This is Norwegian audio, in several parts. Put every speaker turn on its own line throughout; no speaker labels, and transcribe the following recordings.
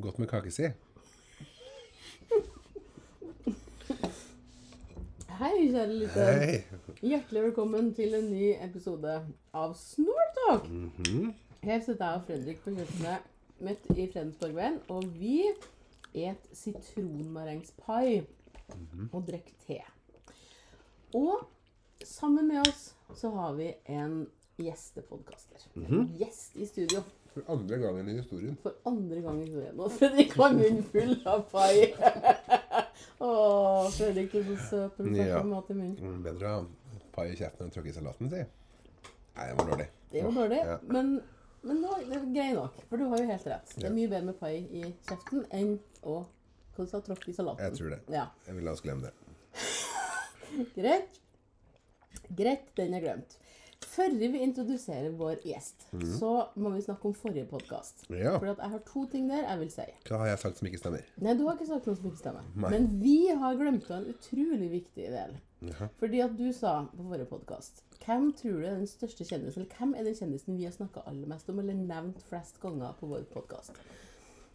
godt med kake si.
Hei, kjære lytter.
Hei.
Hjertelig velkommen til en ny episode av Snortalk.
Mhm.
Her sitter jeg og Fredrik på kjøkkenet mitt i Fredensborgveien, og vi et sitronmarengspai
Mhm.
og drikker te. Og sammen med oss så har vi en gjestepodkaster.
Mhm.
En gjest i studio.
For andre gangen i historien.
For andre gang i historien. Og Fredrik har munnen full av pai. Å, Fredrik, du er så søt når du snakker
Ja.
om mat i munnen.
Mm, Bedre å ha pai i kjeften enn å tråkke i salaten, si. Nei, det var dårlig.
Det er jo dårlig,
Ja.
men, men det var det er grei nok. For du har jo helt rett. Det
Ja.
er mye bedre med pai i kjeften enn å hvordan skal jeg tråkke i salaten.
Jeg tror det.
Ja,
Jeg vil la oss glemme det.
Greit. Greit, den er glemt. Før vi introduserer vår gjest, så må vi snakke om forrige podkast.
Mhm. Ja.
For at jeg har to ting der jeg vil si.
Hva har jeg sagt som ikke stemmer?
Nei, du har ikke sagt noe som ikke stemmer.
Nei.
Men vi har glemt en utrolig viktig del.
Jaha.
Fordi at du sa på forrige podkast Hvem tror du er den største kjendisen Eller hvem er den kjendisen vi har snakka aller mest om, eller nevnt flest ganger på vår podkast?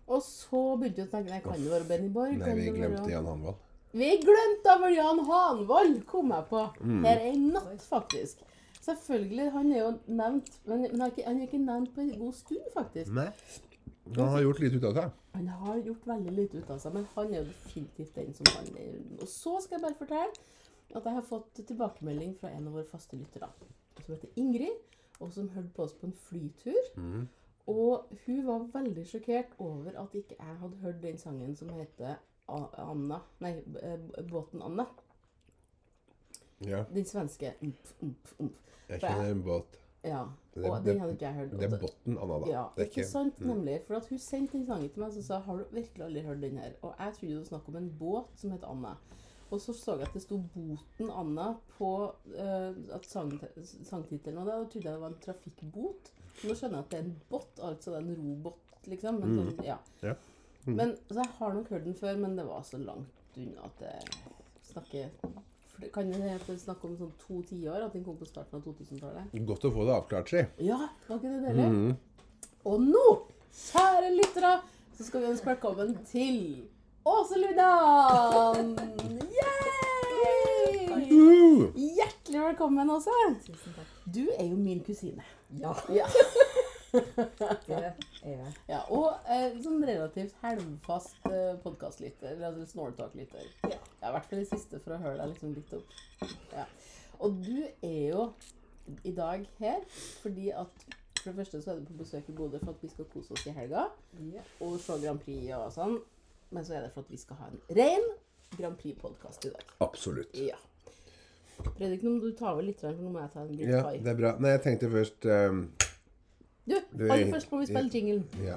Og så begynte du å tenke Nei, kan det være Benny Borg?
Nei,
Kan
vi
det være-
glemte Jan Hanvold.
Vi glemte av Jan Hanvold, kom jeg på.
Mm.
Her er en natt, faktisk. Selvfølgelig, han er jo nevnt, men men han er ikke- han er ikke nevnt på en god stund, faktisk.
Nei. Han har gjort lite ut av seg.
Han har gjort veldig lite ut av seg, men han er jo definitivt den som han er. Og så skal jeg bare fortelle at jeg har fått tilbakemelding fra en av våre faste lyttere, som heter Ingrid, og som hørte på oss på en flytur.
Mhm.
Og hun var veldig sjokkert over at ikke jeg hadde hørt den sangen som heter A- Anna, nei, B- eh, Båten Anna.
Ja.
Den svenske umf, umf, umf.
Jeg kjenner en båt.
Ja,
Det er-
og den hadde ikke jeg hørt.
Det er botten, Anna, da.
Ja,
det er
ikke
ikke mm.
sant, nemlig. For at hun sendte den sangen til meg og sa har du virkelig aldri hørt den her. Og jeg trodde det var snakk om en båt som het Anna. Og så så jeg at det sto Boten Anna på eh, at sang, sangtittelen. Og da trodde jeg det var en trafikkbot. Nå skjønner jeg at det er en båt, altså det er en robåt, liksom. Men, sånn, ja.
Mm. Ja. Mm.
men så jeg har nok hørt den før, men det var så langt unna at jeg snakker for det Kan det hete snakk om sånn to tiår, at den kom på starten av 2000-tallet?
Godt å få det avklart, si.
Ja, var ikke det deilig? Og nå, kjære lyttere, så skal vi ønske velkommen til Åse Ludan! Yay!
Uh!
Hjertelig velkommen, Åse.
Tusen takk.
Du er jo min kusine.
Ja,
Ja,
det er jeg.
ja Og eh, sånn relativt helmfast eh, podkastlytter, eller altså snortalklytter.
Ja.
Ja, I hvert fall det siste, for å høre deg liksom litt opp. Ja. Og du er jo i dag her fordi at For det første så er du på besøk i Bodø for at vi skal kose oss i helga.
Ja.
og se Grand Prix og sånn. Men så er det for at vi skal ha en ren Grand Prix-podkast i dag.
Absolutt.
Ja. Fredrik, nå må du ta over litt, for nå må jeg ta en bit
Ja,
pai.
det er bra. Nei, jeg tenkte først ehm,
Du,
det-
aller først må vi spille jinglen.
Ja.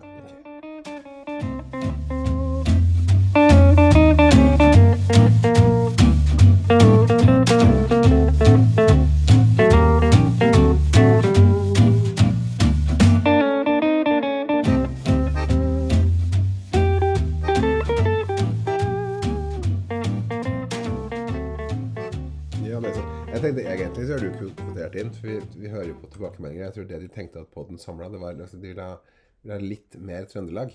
Ja, nei, så- Jeg tenkte Egentlig så er du ikke kvotert inn, for vi, vi hører jo på tilbakemeldinger. Jeg tror det de tenkte at podden samla, det var altså, de ville ha- ville ha litt mer Trøndelag.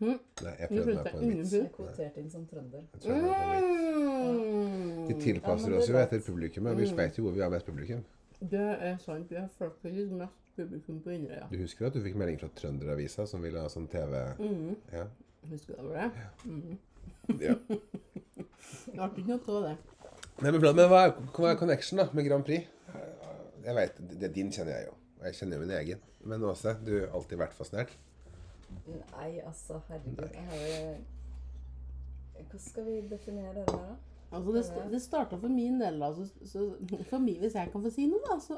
Hm.
Nei, jeg
Nå
prøvde meg
brukte
på
jeg
en vits.
Jeg
ingenting.
er kvotert inn som trønder.
Jeg tror jeg prøvde meg på en vits. Vi
Mm.
Ja,
tilpasser
men
oss jo
det er Mm.
etter publikummet. Vi vet jo hvor vi har mest publikum.
Det er sant. Vi har faktisk mest publikum på Inderøya.
Du husker at du fikk melding fra Trønderavisa som ville ha sånn TV
Mm.
Ja.
Husker du det? Mm.
ja.
Det ble ikke noe av det.
Nei, men, bra, men hva, er, hva er connection da med Grand Prix? Jeg vet, det, Din kjenner jeg jo. Og jeg kjenner jo min egen. Men Åse, du har alltid vært fascinert.
Nei, altså, herregud. Jeg har jo Hva skal vi definere det her, da?
Altså, det, st- det starta for min del, da. Så, så, for min, hvis jeg kan få si noe, da, så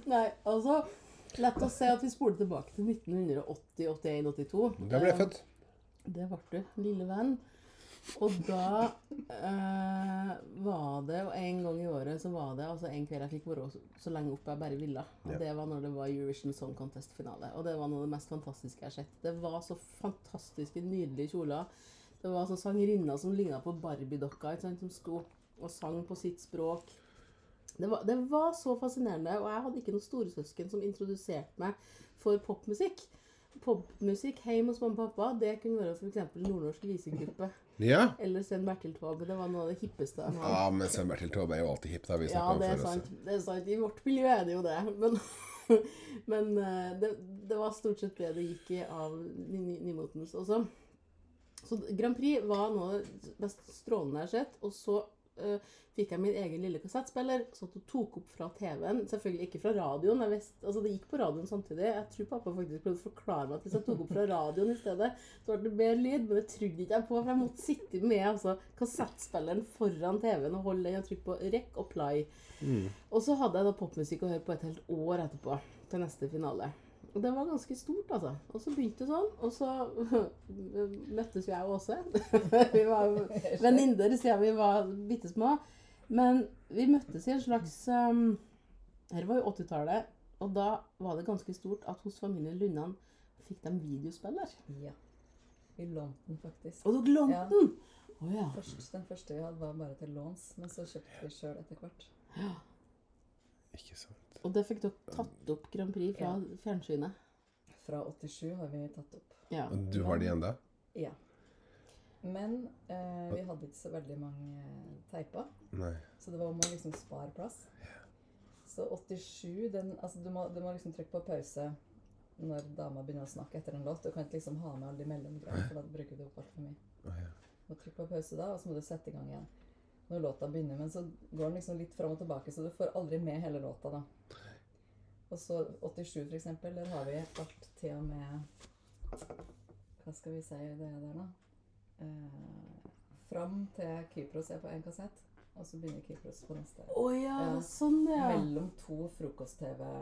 Nei, altså Lett å se at vi spoler tilbake til 1980, 81, 82.
Da ble jeg født.
Det ble du, lille venn. Og da eh, var det og En gang i året så var det altså en kveld jeg fikk være så, så lenge opp jeg bare ville. Og
Ja.
Det var når det var Eurovision Song Contest-finale. Og det var noe av det mest fantastiske jeg har sett. Det var så fantastiske, nydelige kjoler. Det var sånn sangerinner som ligna på Barbie-dokka, ikke sant, som sto og sang på sitt språk. Det var, det var så fascinerende, og jeg hadde ikke noen storesøsken som introduserte meg for popmusikk. Popmusikk hjemme hos mamma og pappa, det kunne være f.eks. Nordnorsk visegruppe
Ja.
eller Sven Bertil Taube. Det var noe av det hippeste jeg hadde.
ja, men Svein Bertil Taube er jo alltid hipp. da vi
Ja,
snakket om
det er
før også.
sant. Det er sant. I vårt miljø er det jo det. Men, men eh, det, det var stort sett det det gikk i av ny- ny- nymotens også. Så Grand Prix var noe av det mest strålende jeg har sett. Og så eh, fikk jeg min egen lille kassettspiller, så at hun tok opp fra TV-en. Selvfølgelig ikke fra radioen. Jeg visste- altså Det gikk på radioen samtidig. Jeg tror pappa faktisk prøvde å forklare meg at hvis jeg tok opp fra radioen i stedet, så ble det mer lyd, men det trodde ikke jeg på. For jeg måtte sitte med altså, kassettspilleren foran TV-en og holde den og trykke på rekk og play. Og så hadde jeg da popmusikk å høre på et helt år etterpå, til neste finale. Og det var ganske stort, altså. Og så begynte det sånn, og så møttes jo jeg og Åse. vi var jo venninner siden vi var bitte små. Men vi møttes i en slags um, Her var jo 80-tallet, og da var det ganske stort at hos familien Lundan fikk de videospiller.
Ja. I London, faktisk.
Og dere lånte
Ja.
den! Å ja.
Først, den første vi hadde, var bare til låns, men så kjøpte vi sjøl etter hvert.
Ikke sant.
Og det fikk dere tatt opp Grand Prix fra fjernsynet.
Fra 87 har vi tatt opp.
Ja.
Og Du har de ennå?
Ja. Men eh, vi hadde ikke så veldig mange eh, teiper,
Nei.
så det var om å liksom spare plass. Så 87 den, altså du, må, du må liksom trykke på pause når dama begynner å snakke etter en låt. Du kan ikke liksom ha med alle de mellomgreiene, for da bruker du opp altfor mye.
Å, ja.
Du må trykke på pause da, og så må du sette i gang igjen når låta begynner. Men så går den liksom litt fram og tilbake, så du får aldri med hele låta, da. Og så 87, for eksempel, der har vi vært til og med Hva skal vi si det er der, da? Eh, fram til Kypros er på én kassett, og så begynner Kypros på neste.
Å ja,
Ja.
sånn ja.
Mellom to frokost-TV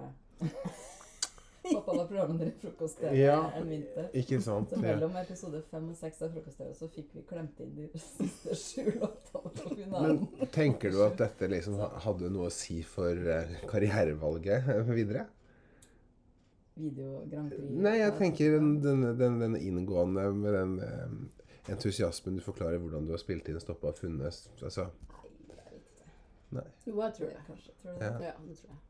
Pappa var programleder i frokost-TV
Ja.
en vinter.
Ikke sant.
Så
Ja.
mellom episode fem og seks av Frokost-TV så fikk vi klemt inn de siste sju låtene på finalen.
Men tenker du at dette liksom ha- hadde noe å si for eh, karrierevalget eh, videre?
Video Grand Prix.
Nei, jeg tenker den, den, den, den inngående med den eh, entusiasmen du forklarer hvordan du har spilt inn, stoppa og funnet altså,
Nei, jeg vet ikke.
Nei.
Jo, jeg tror
Tror
det.
jeg kanskje. Tror du
Ja.
det?
Ja, det tror jeg.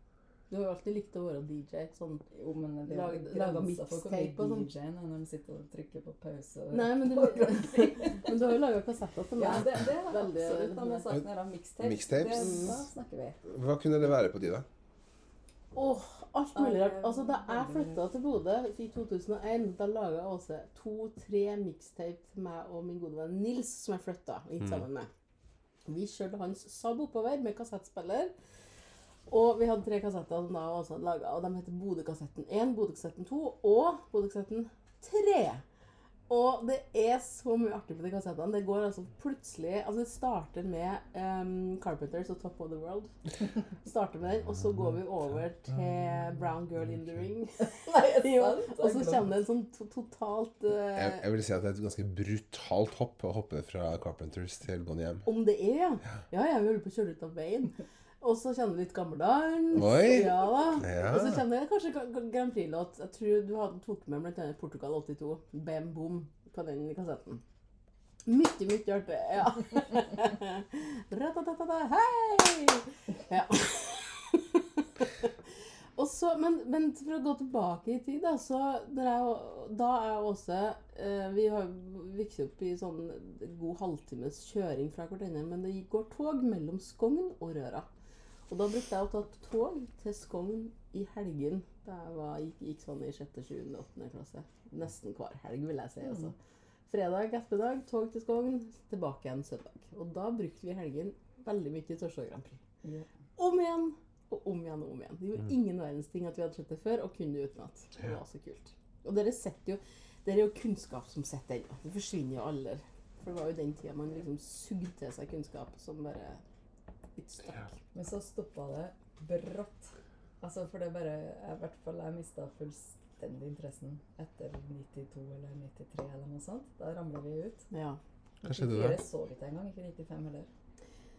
Du har jo alltid likt å være DJ. Sånn.
Jo, men det er
Lag-
jo
laga
grensa for hvor
mixtape og
mye
sånn.
DJ-en er når de sitter og trykker på pause. Og...
Nei, men du, men du har jo laga kassetter til
Ja,
meg.
det, det er
Veldig-
absolutt da, men saken er da mixtapes.
Mixtapes.
Det, da snakker vi.
Hva kunne det være på de, da?
Åh, alt mulig rart. Altså, Da jeg flytta til Bodø i 2001, da laga Åse to-tre mixtape til meg og min gode venn Nils, som jeg flytta hit sammen med. Vi kjørte hans Saab oppover med kassettspiller. Og vi hadde tre kassetter som da Åse hadde laga, og de heter Bodø-kassetten 1, Bodø-kassetten 2 og Bodø-kassetten 3. Og det er så mye artig på de kassettene. Det går altså plutselig Altså, det starter med ehm, Carpenters og Top of the World. Starter med den, og så går vi over til Brown Girl in the Ring.
Nei, er det
Jo,
sant?
og så kommer det en sånn to totalt eh,
Jeg, jeg vil si at det er et ganske brutalt hopp å hoppe fra Carpenters til Bonnie M.
Om det er, ja. Ja, jeg vil på å kjøre ut av veien. Og så kjenner du litt gammeldans.
Oi.
Ja da.
Ja.
Og så kjenner jeg kanskje Gra- Gra- Grand Prix-låt. Jeg tror du hadde, tok med blant annet Portugal 82. Bam boom på den kassetten. Mye, mye artig. Ja. Ratatatata, hei! Ja. Og så, men, men for å gå tilbake i tid, da, så når jeg, og- da er jeg også eh, Vi har vokst opp i sånn god halvtimes kjøring fra hverandre, men det går tog mellom Skogn og Røra. Og da brukte jeg å ta tog til Skogn i helgen da jeg var, gikk, gikk sånn i 6., 7., 8. klasse. Nesten hver helg, vil jeg si. altså. Fredag ettermiddag, tog til Skogn, tilbake igjen søndag. Og da brukte vi helgen veldig mye til Torshov Grand Prix.
Ja.
Om igjen og om igjen og om igjen. Det gjorde ingen verdens ting at vi hadde sett det før, og kunne det utenat. Og Det var så kult. Og dere setter jo Dere er jo kunnskap som sitter ennå. Det forsvinner jo aldri. For det var jo den tida man liksom sugde til seg kunnskap som bare litt stakk.
Men så stoppa det brått. Altså, for det bare jeg, I hvert fall jeg mista fullstendig interessen etter 92 eller 93 eller noe sånt. Da ramla vi ut.
Ja.
Hva skjedde
94
da?
så vi ikke engang. Ikke 95 heller.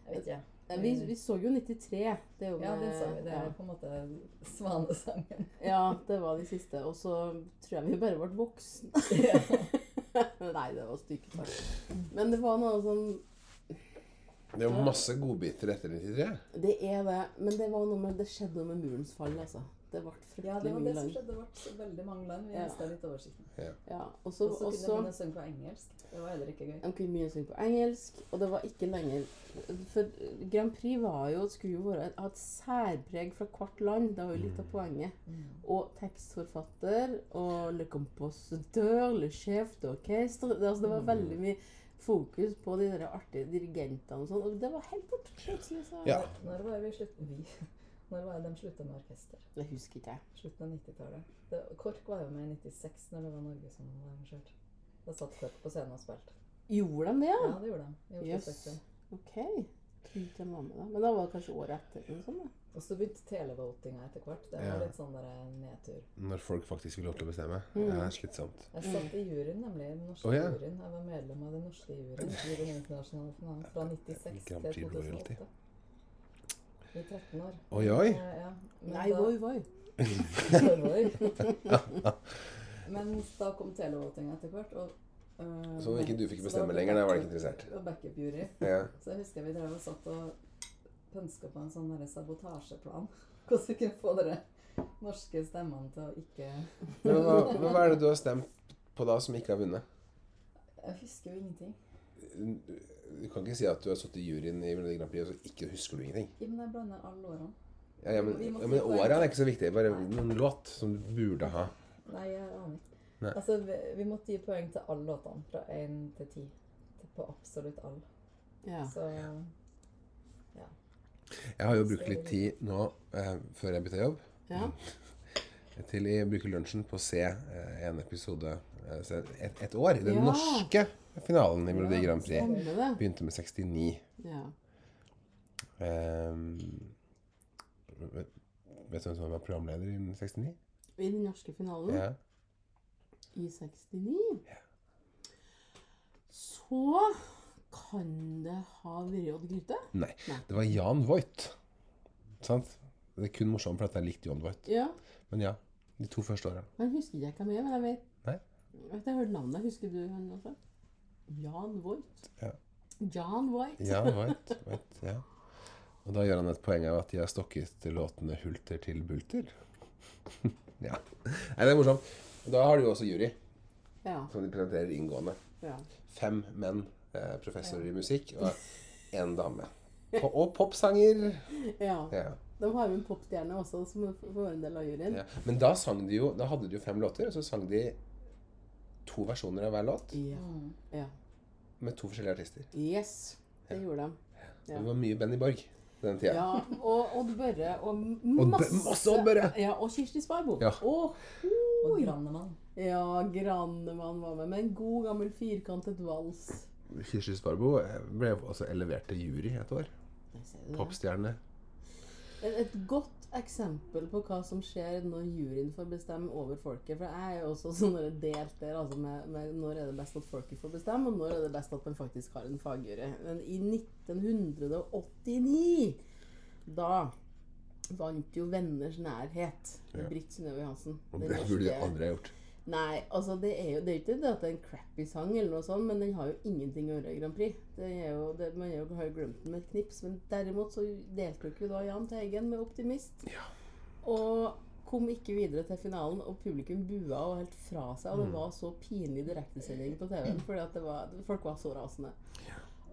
Jeg vet ikke.
Nei, Vi, vi så jo 93. Det er jo
Mm. Ja, det
med-
sa vi. Det er
ja.
på en måte svanesangen.
ja, det var de siste. Og så tror jeg vi bare ble voksne.
Ja.
Nei, det var stygt sagt. Men det var noe sånn
Det er jo masse godbiter etter 93.
Det er det. Men det var noe med Det skjedde noe med murens fall, altså. Det ble fryktelig
Ja, det var
mye
det som
land.
skjedde. Det ble veldig mange land. Vi
Ja.
mista litt oversikten.
Ja, og så
Og så kunne jeg
også-
begynne å synge på engelsk. Det var heller ikke gøy.
De kunne mye synge på engelsk, og det var ikke lenger For Grand Prix var jo, skulle jo være, ha et særpreg fra hvert land. Det var jo
Mm.
litt av poenget.
Mm.
Og tekstforfatter og le compositeur, le chef d'orchestre det, altså, det
Mm.
var veldig mye fokus på de der artige dirigentene og sånn. Og det var helt bort. Plutselig så
Ja.
Når var det vi slutt... Vi. Når var det de slutta med orkester?
Det husker ikke jeg.
Slutten av 90-tallet. Det- KORK var jo med i 96, når det var Norge som var arrangert. Da satt KORK på scenen og spilte.
Gjorde de det, ja?
Ja, det gjorde de. i Oslo
Jøss.
Spektrum.
OK. Trodde de var med da. Men da var det kanskje året etter. eller noe sånt, da.
Og så begynte televotinga etter hvert. Det var
Ja.
litt sånn der eh, nedtur.
Når folk faktisk vil lov til å bestemme. Det er slitsomt.
Jeg satt i juryen, nemlig. Den norske
Å, ja.
juryen. Jeg var medlem av den norske juryen i den internasjonale finalen fra 96
Grand Prix
til
Royalty.
2008. I 13 år.
Oi, oi!
Eh, Ja. Men
Nei,
da-
voi, voi.
Men da kom televotinga etter hvert. Og, eh,
Sånn at ikke du fikk
så
bestemme
da
lenger, da var jeg ikke
backup-
interessert.
Og backup jury.
Ja.
Så jeg husker vi drev og satt og pønska på en sånn der sabotasjeplan. Hvordan vi kunne få dere norske stemmene til å ikke
Men hva, men hva er det du har stemt på da, som ikke har vunnet?
Jeg husker jo ingenting.
Du kan ikke si at du har sittet i juryen i Melodi Grand Prix, og så ikke husker du ingenting.
Ja, men jeg blander alle årene.
Ja, ja, men,
Vi må
ja, men
si poeng.
åra er ikke så viktig. Bare en låt som du burde ha.
Nei, jeg aner ikke.
Nei.
Altså, vi, vi måtte gi poeng til alle låtene, fra én til ti. Til- På absolutt alle.
Ja.
Så
Jeg har jo brukt litt tid nå eh, før jeg bytta jobb,
ja.
til jeg bruker lunsjen på å se eh, en episode eh, se et, et år. Den
Ja.
norske finalen i Melodi
Ja,
Grand Prix
Stemmer det.
begynte med 69.
Ja.
Eh, vet Ehm, vet du hvem som var programleder i 69?
I den norske finalen
Ja.
i 69 Så kan det ha vært Odd Grythe?
Nei.
Nei.
Det var Jan Voigt. Sant? Det er kun morsomt, for at jeg likte Jan Voigt.
Ja.
Men ja. De to første åra.
Men husker jeg ikke hvem er, men jeg vet,
Nei.
jeg vet jeg hørte navnet. Husker du han også? Jan Voigt.
Ja.
Jan Voigt.
Jan Voigt. Voigt, ja. Og da gjør han et poeng av at de har stokket låtene 'Hulter til bulter'. ja. Nei, det er morsomt. Da har du jo også jury,
Ja.
som de presenterer inngående.
ja.
Fem menn, eh, professorer i musikk, og én dame. Po- og popsanger.
ja.
Ja.
De har jo en popstjerne også, som får være en del av juryen.
Ja. Men da sang de jo Da hadde de jo fem låter, og så sang de to versjoner av hver låt
Ja.
mm.
ja.
med to forskjellige artister.
Yes. Det gjorde de. Ja.
Det var mye Benny Borg på den tida.
Ja, og Odd Børre og
Odd Bø-
masse,
masse Odd Børre!
Ja, og Kirsti Sparbo.
Ja.
Og
Og
Oi.
Grannemann.
Ja, Grannemann var med med en god gammel firkantet vals.
Kirsti Sparbo eh, ble også elevert til jury et år.
Der ser du det.
Popstjerne.
Et, et godt eksempel på hva som skjer når juryen får bestemme over folket. For jeg er jo også sånn der delt der, altså med, med når er det best at folket får bestemme, og når er det best at man faktisk har en fagjury. Men i 1989, da vant jo Venners nærhet med
Ja.
Britt Synnøve Johansen.
Og
Den
det burde de
norske-
aldri ha gjort.
Nei, altså det er jo det er jo ikke det at det er en crappy sang, eller noe sånt, men den har jo ingenting å gjøre i Grand Prix. Det er jo, det, man er jo, har jo glemt den med et knips. Men derimot så deltok jo da Jahn Teigen med 'Optimist'. Og kom ikke videre til finalen, og publikum bua og helt fra seg. Og
Mm.
det var så pinlig direktesending på TV-en, fordi at det var, folk var så rasende.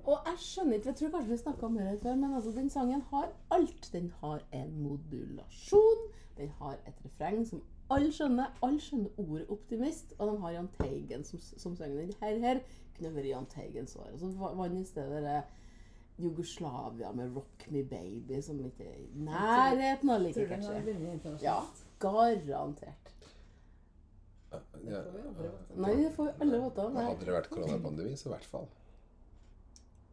Og jeg skjønner ikke, jeg tror kanskje vi snakka om det her før, men altså, den sangen har alt. Den har en modulasjon, den har et refreng som alle skjønner. Alle skjønner ordet 'optimist', og de har Jahn Teigen som, som synger den. Her, her kunne vært Jahn Teigens år. Og så va- vant i stedet det Jugoslavia med 'Rock Me Baby', som ikke er i nærheten av like
Tror du den
catchy.
har vunnet
Ja,
internasjonalt?
garantert.
Det får vi aldri vite.
Nei, det får vi alle vite om.
Hadde
Nei.
det vært koronapandemi, så i hvert fall.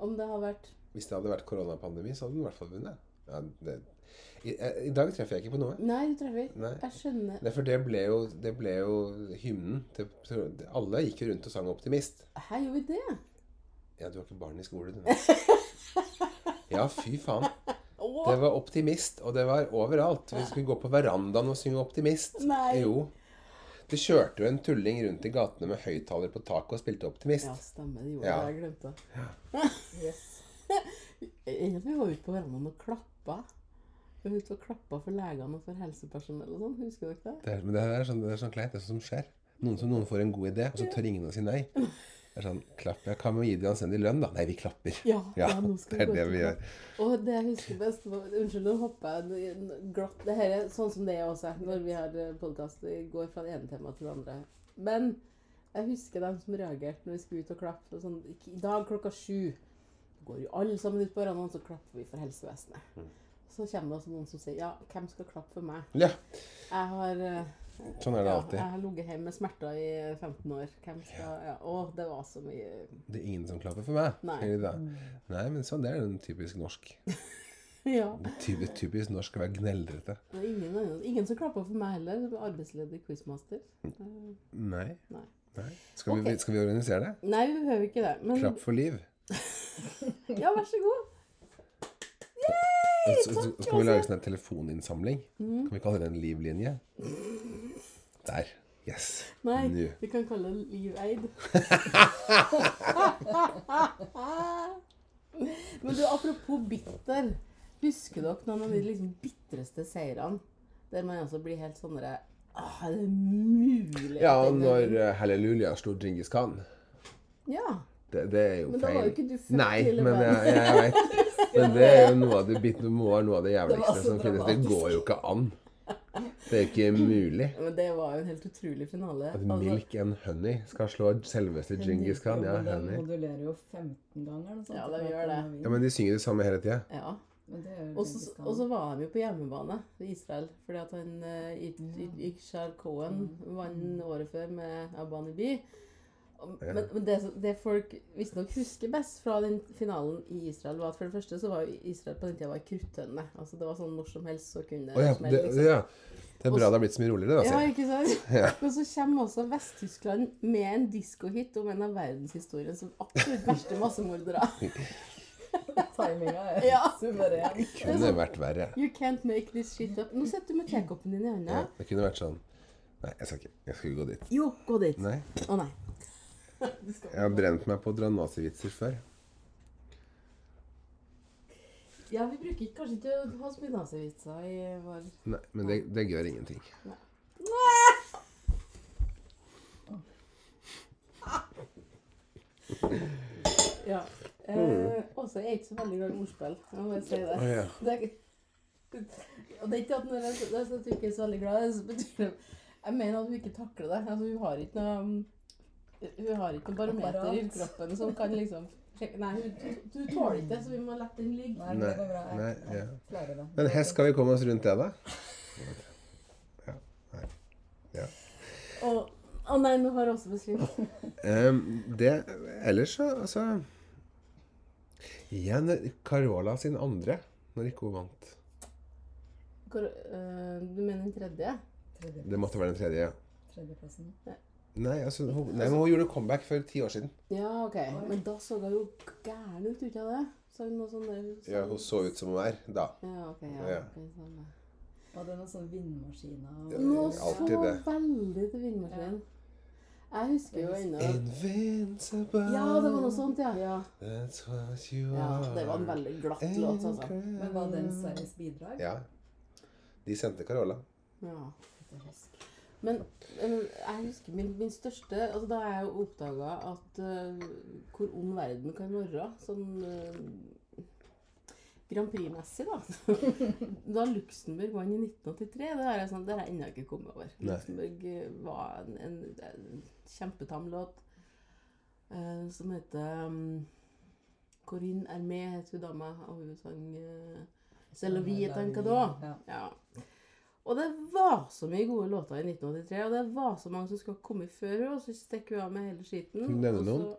Om det har vært
Hvis det hadde vært koronapandemi, så hadde den i hvert fall vunnet. Ja, det, i, eh, I dag treffer jeg ikke på noe.
Nei, du treffer.
Nei.
Jeg skjønner.
Nei, for det ble jo, det ble jo hymnen til, til Alle gikk jo rundt og sang 'Optimist'.
Her gjorde vi det.
Ja, du har ikke barn i skole, du. Ja, fy faen.
Åh!
Det var 'Optimist', og det var overalt. Vi skulle gå på verandaen og synge 'Optimist'.
Nei.
Jo. Det kjørte jo en tulling rundt i gatene med høyttaler på taket og spilte 'Optimist'.
Ja, stemmer. Det gjorde
Ja.
det. Jeg glemte det.
Yes.
Eh, Vi var ute på verandaen og klappa. Vi var ute og klappa for legene og for helsepersonell og sånn. Husker dere det?
Det er, men det er, sånn, det er sånn kleint, det er sånn som skjer. Noen som noen får en god idé, og så tør ingen å si nei. Det er sånn, klapp, ja, Hva med å gi dem anstendig lønn, da? Nei, vi klapper.
Ja,
Ja,
ja, nå skal
det er
gå
det
ut
vi
og
gjør.
klappe. Og det jeg husker best var, Unnskyld, nå hoppa jeg i en glatt. Det her er sånn som det er også når vi har podkast. Vi går fra det ene temaet til det andre. Men jeg husker dem som reagerte når vi skulle ut og klappe. og Sånn, ikke- I dag klokka sju går jo alle sammen ut på verandaen, så klapper vi for helsevesenet.
Mm.
Så kommer det også noen som sier ja, hvem skal klappe for meg?
Ja,
Jeg har eh,
sånn er det
ja, jeg
alltid.
har ligget hjemme med smerter i 15 år. Hvem skal ja. Å, det var så mye
Det er ingen som klapper for meg.
Nei.
sier de da. Nei, men sånn, det er den typisk norsk.
Ja.
Typisk, typisk norsk å være gneldrete.
Det er ingen, andre- ingen som klapper for meg heller. som Arbeidsledig quizmaster. Eh,
Nei.
Nei.
Nei. Skal, vi,
Ok. Mm.
skal vi organisere det?
Nei, vi behøver ikke det. Men
Klapp for liv.
ja, vær så god.
Så, så, så kan vi lage sånn en telefoninnsamling.
Mm.
Kan vi kalle det en livlinje? Der. Yes.
Nei,
Nå.
vi kan kalle det Liv Eid. Men du, apropos bitter. Husker dere noen av de liksom bitreste seirene? Der man altså blir helt sånn derre ah, Er det mulig?
Ja,
at det går
når
inn?»
eh, Halleluja slo Djingis Khan.
Ja.
Det, det er jo
Men da
feil.
var jo ikke du født,
Nei,
lille
men
venn.
jeg, jeg vet. Men det er jo noe av det, bit- det må være noe av det
var
jævligste
så
som finnes. Det
dramatisk.
går jo ikke an. Det er jo ikke mulig.
Men det var jo en helt utrolig finale.
At
Altså,
Milk and Honey skal slå selveste Djingis Khan. Ja,
Men den
Honey.
modulerer jo 15 ganger. eller noe sånt.
Ja, det gjør det.
Ja, men de synger det samme hele tida.
ja.
Men det er jo sånn
Og så
Genghis Khan.
og så var de jo på hjemmebane i Israel, fordi at han eh, Y- Y- Yishar Cohen vant året før med Abani Bi. Og-
Ja.
Men, men det, som- det folk visstnok husker best fra den finalen i Israel, var at for det første så var jo Israel på den tida var en kruttønne. Altså det var sånn når som helst så kunne
Å ja,
smelle,
det,
liksom.
ja. det er bra det har blitt så mye roligere, da.
Ja,
sier jeg.
ikke sant?
Ja.
Men så kommer også Vest-Tyskland med en diskohit om en av verdenshistoriens absolutt verste massemordere.
Timinga er
Ja.
suveren.
Det kunne vært verre.
You can't make this shit up. Nå sitter du med tekoppen din i hånda.
Ja, det kunne vært sånn Nei, jeg skal ikke. Jeg skal ikke gå dit.
Jo, gå dit.
Nei.
Å nei. Du skal-
Jeg har brent meg på å dra nazivitser før.
Ja, vi bruker ikke- kanskje ikke å ha så mye nazivitser i vår
Nei, men det, det gjør ingenting.
Ja. Eh, også er jeg ikke så veldig glad i ordspill. Jeg må bare si det.
Å, ja.
det er, og det er ikke at når jeg sier at du ikke er så veldig glad i det, så betyr det Jeg mener at hun ikke takler det. Altså, hun har ikke noe Hun har ikke noe barometer i
Apparat.
kroppen som kan liksom Nei, hun, hun tåler ikke det, så vi må la den ligge.
Nei, men det går bra.
Nei,
Jeg, jeg
ja.
klarer det.
Men hest, skal vi komme oss rundt det, da? Ja. Nei. Ja.
Og, å nei, nå har jeg også besvimt.
Ehm, det Ellers så Altså Igjen Carola sin andre, når ikke hun vant.
Hvor, eh, du mener den tredje?
Tredje,
Det måtte være den tredje. ja.
tredjeplassen.
Nei, altså, hun, nei, men hun gjorde comeback for ti år siden.
Ja, ok. Men da så hun jo gæren ut, gjorde hun det? Så hun noe sånn der, sånn.
Ja, Hun så ut som hun er da.
Ja, ok. Ja,
Ja.
ok, sånn, ja.
Og det er noen sånne vindmaskiner
Ja.
og
Nå så
Alltid det.
veldig til vindmaskinen. Jeg husker jo ennå
Invincible.
Ja, det var noe sånt, ja. Ja,
That's what you
ja
are.
det var en veldig glatt låt, altså.
Men var den Sveriges bidrag?
Ja. De sendte Carola.
Ja.
Det husker jeg.
Men eh, jeg husker min, min største altså Da har jeg jo oppdaga at eh, hvor ond verden kan være. Sånn eh, Grand Prix-messig, da. da Luxembourg vant i 1983, det har jeg, sånn, det har jeg ennå ikke kommet over.
Nei.
Luxembourg eh, var en, en, en kjempetam låt eh, som heter um, Corinne Hermé, het hun dama, og hun sang eh, C'est la vie est un cadeau.
Ja.
Ja. Og det var så mye gode låter i 1983, og det var så mange som skulle ha kommet før henne, og så stikker hun av med hele skiten.
Kan du nevne
og så-
noen?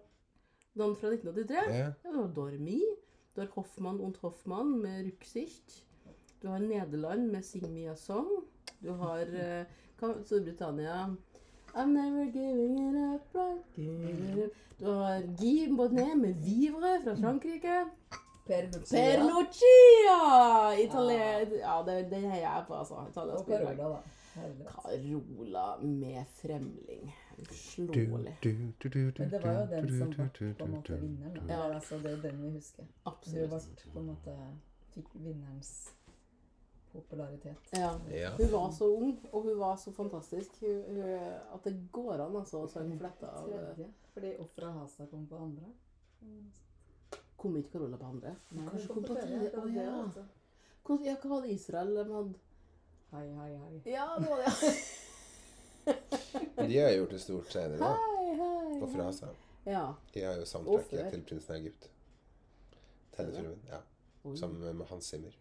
Noen fra 1983?
Ja.
Ja, du har Dormi. Du har Hoffmann und Hoffmann med Ruxicht. Du har Nederland med Sing Me A Song. Du har eh, hva- Storbritannia I'm never giving it up, I'm giving it up. Du har Guy Bonnet med Vivre fra Frankrike.
Per Lucia
Per Lucia! Italia. Ja, det, det heier jeg på, altså. Italiensk
og
bidrag.
Carola, da. helvete.
Carola med Fremling. Uslåelig.
Men det var jo den som ble på en måte
Nei,
vinneren. Da.
Ja.
Eller, altså, det er jo den vi husker. Du ble
Absolutt.
på en måte fikk vinnerens popularitet.
Ja.
Ja.
Hun var så ung, og hun var så fantastisk hun, hun, at det går an altså, å sange fletta av eh,
Tredje, fordi Ofra Hasa kom på andre.
Kom ikke Carola på andre?
Nei,
Kanskje
hun
kom på tredje?
det var
Å
det,
ja.
altså.
Hvordan- ja. Hva var det Israel de hadde?
Hei, hei, hei.
Ja, det var det.
De har gjort det stort senere, da.
Hei, hei.
På Frasa.
Ja.
De har jo
Og før.
soundtracket til 'Prinsen av Egypt'. Tegnefilmen. Ja.
Oi.
Sammen med Hans Zimmer.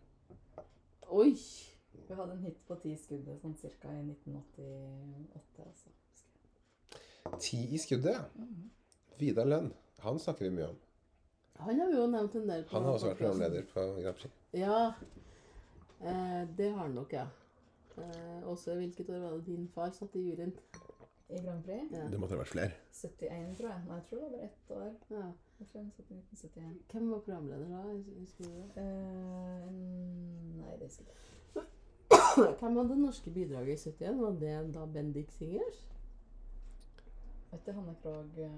Oi.
Vi hadde en hit på ti skudd sånn cirka i 1988. altså.
Ti i skuddet, ja. Vidar Lønn. Han snakker vi mye om.
Han har vi jo nevnt en del på
Han har også vært
podcasten.
programleder på Grand Prix.
Ja. Eh, det har han nok, ja. Eh, også hvilket år var det din far satt i juryen?
I Grand Prix
Ja.
Det måtte ha vært flere.
71, tror jeg. Nei, jeg tror det var bare ett år.
Ja.
Jeg tror hun satt i 1971.
Hvem var programleder da? Husker du det?
Eh, nei, det husker jeg ikke.
Hvem var det norske bidraget i 71? Var det da Bendik Singers?
Vet du, Hanne Krogh eh,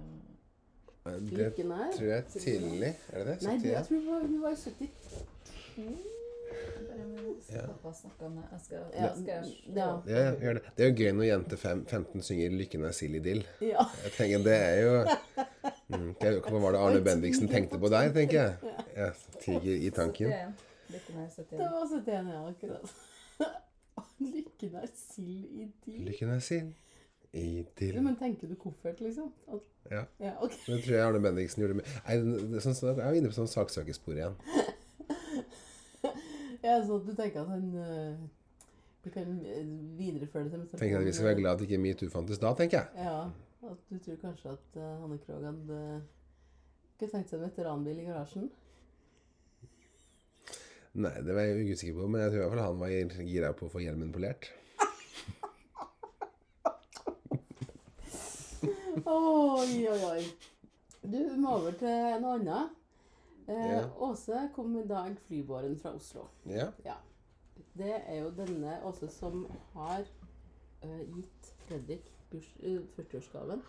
Det
Lykken her?
tror jeg tidlig. Er det det?
Nei, det, jeg
71?
tror hun var, hun var i 70.
Ja.
Pappa snakka med Jeg
Mm.
skal,
Ja,
jeg skal
ja.
Ja, ja, gjør det. Det er jo gøy når jente fem, 15 synger 'Lykken er sild i dill'.
Ja.
Jeg tenker, det er jo mm, det er jo- Hva var det Arne Bendiksen tenkte på der, tenker jeg. Ja, tiger i tanken.
71. Lykken er
Det
71.
var 71, ja, akkurat. Lykken er sild i dill.
Lykken er sild i
Ja,
dill.
Men tenker du koffert, liksom? At,
Ja.
ja, ok.
Det tror jeg Arne Bendiksen gjorde med Nei, det- det- sånn, sånn, Jeg er inne på sånn saksøkerspor igjen.
Ja, sånn at du tenker at han eh, Du kan eh, videreføre det til
Tenker at Vi skal være glad at ikke metoo fantes da, tenker jeg.
Ja. At du tror kanskje at eh, Hanne Krogh hadde ikke tenkt seg en veteranbil i garasjen?
Nei, det var jeg usikker på, men jeg tror i hvert fall han var gira på å få hjelmen polert.
Oi, oi, oi. Du, vi må over til en annen. Eh,
Ja.
Åse kom i dag flybåren fra Oslo.
Ja.
Det er jo denne Åse som har eh, gitt Fredrik burs, eh, 40-årsgaven.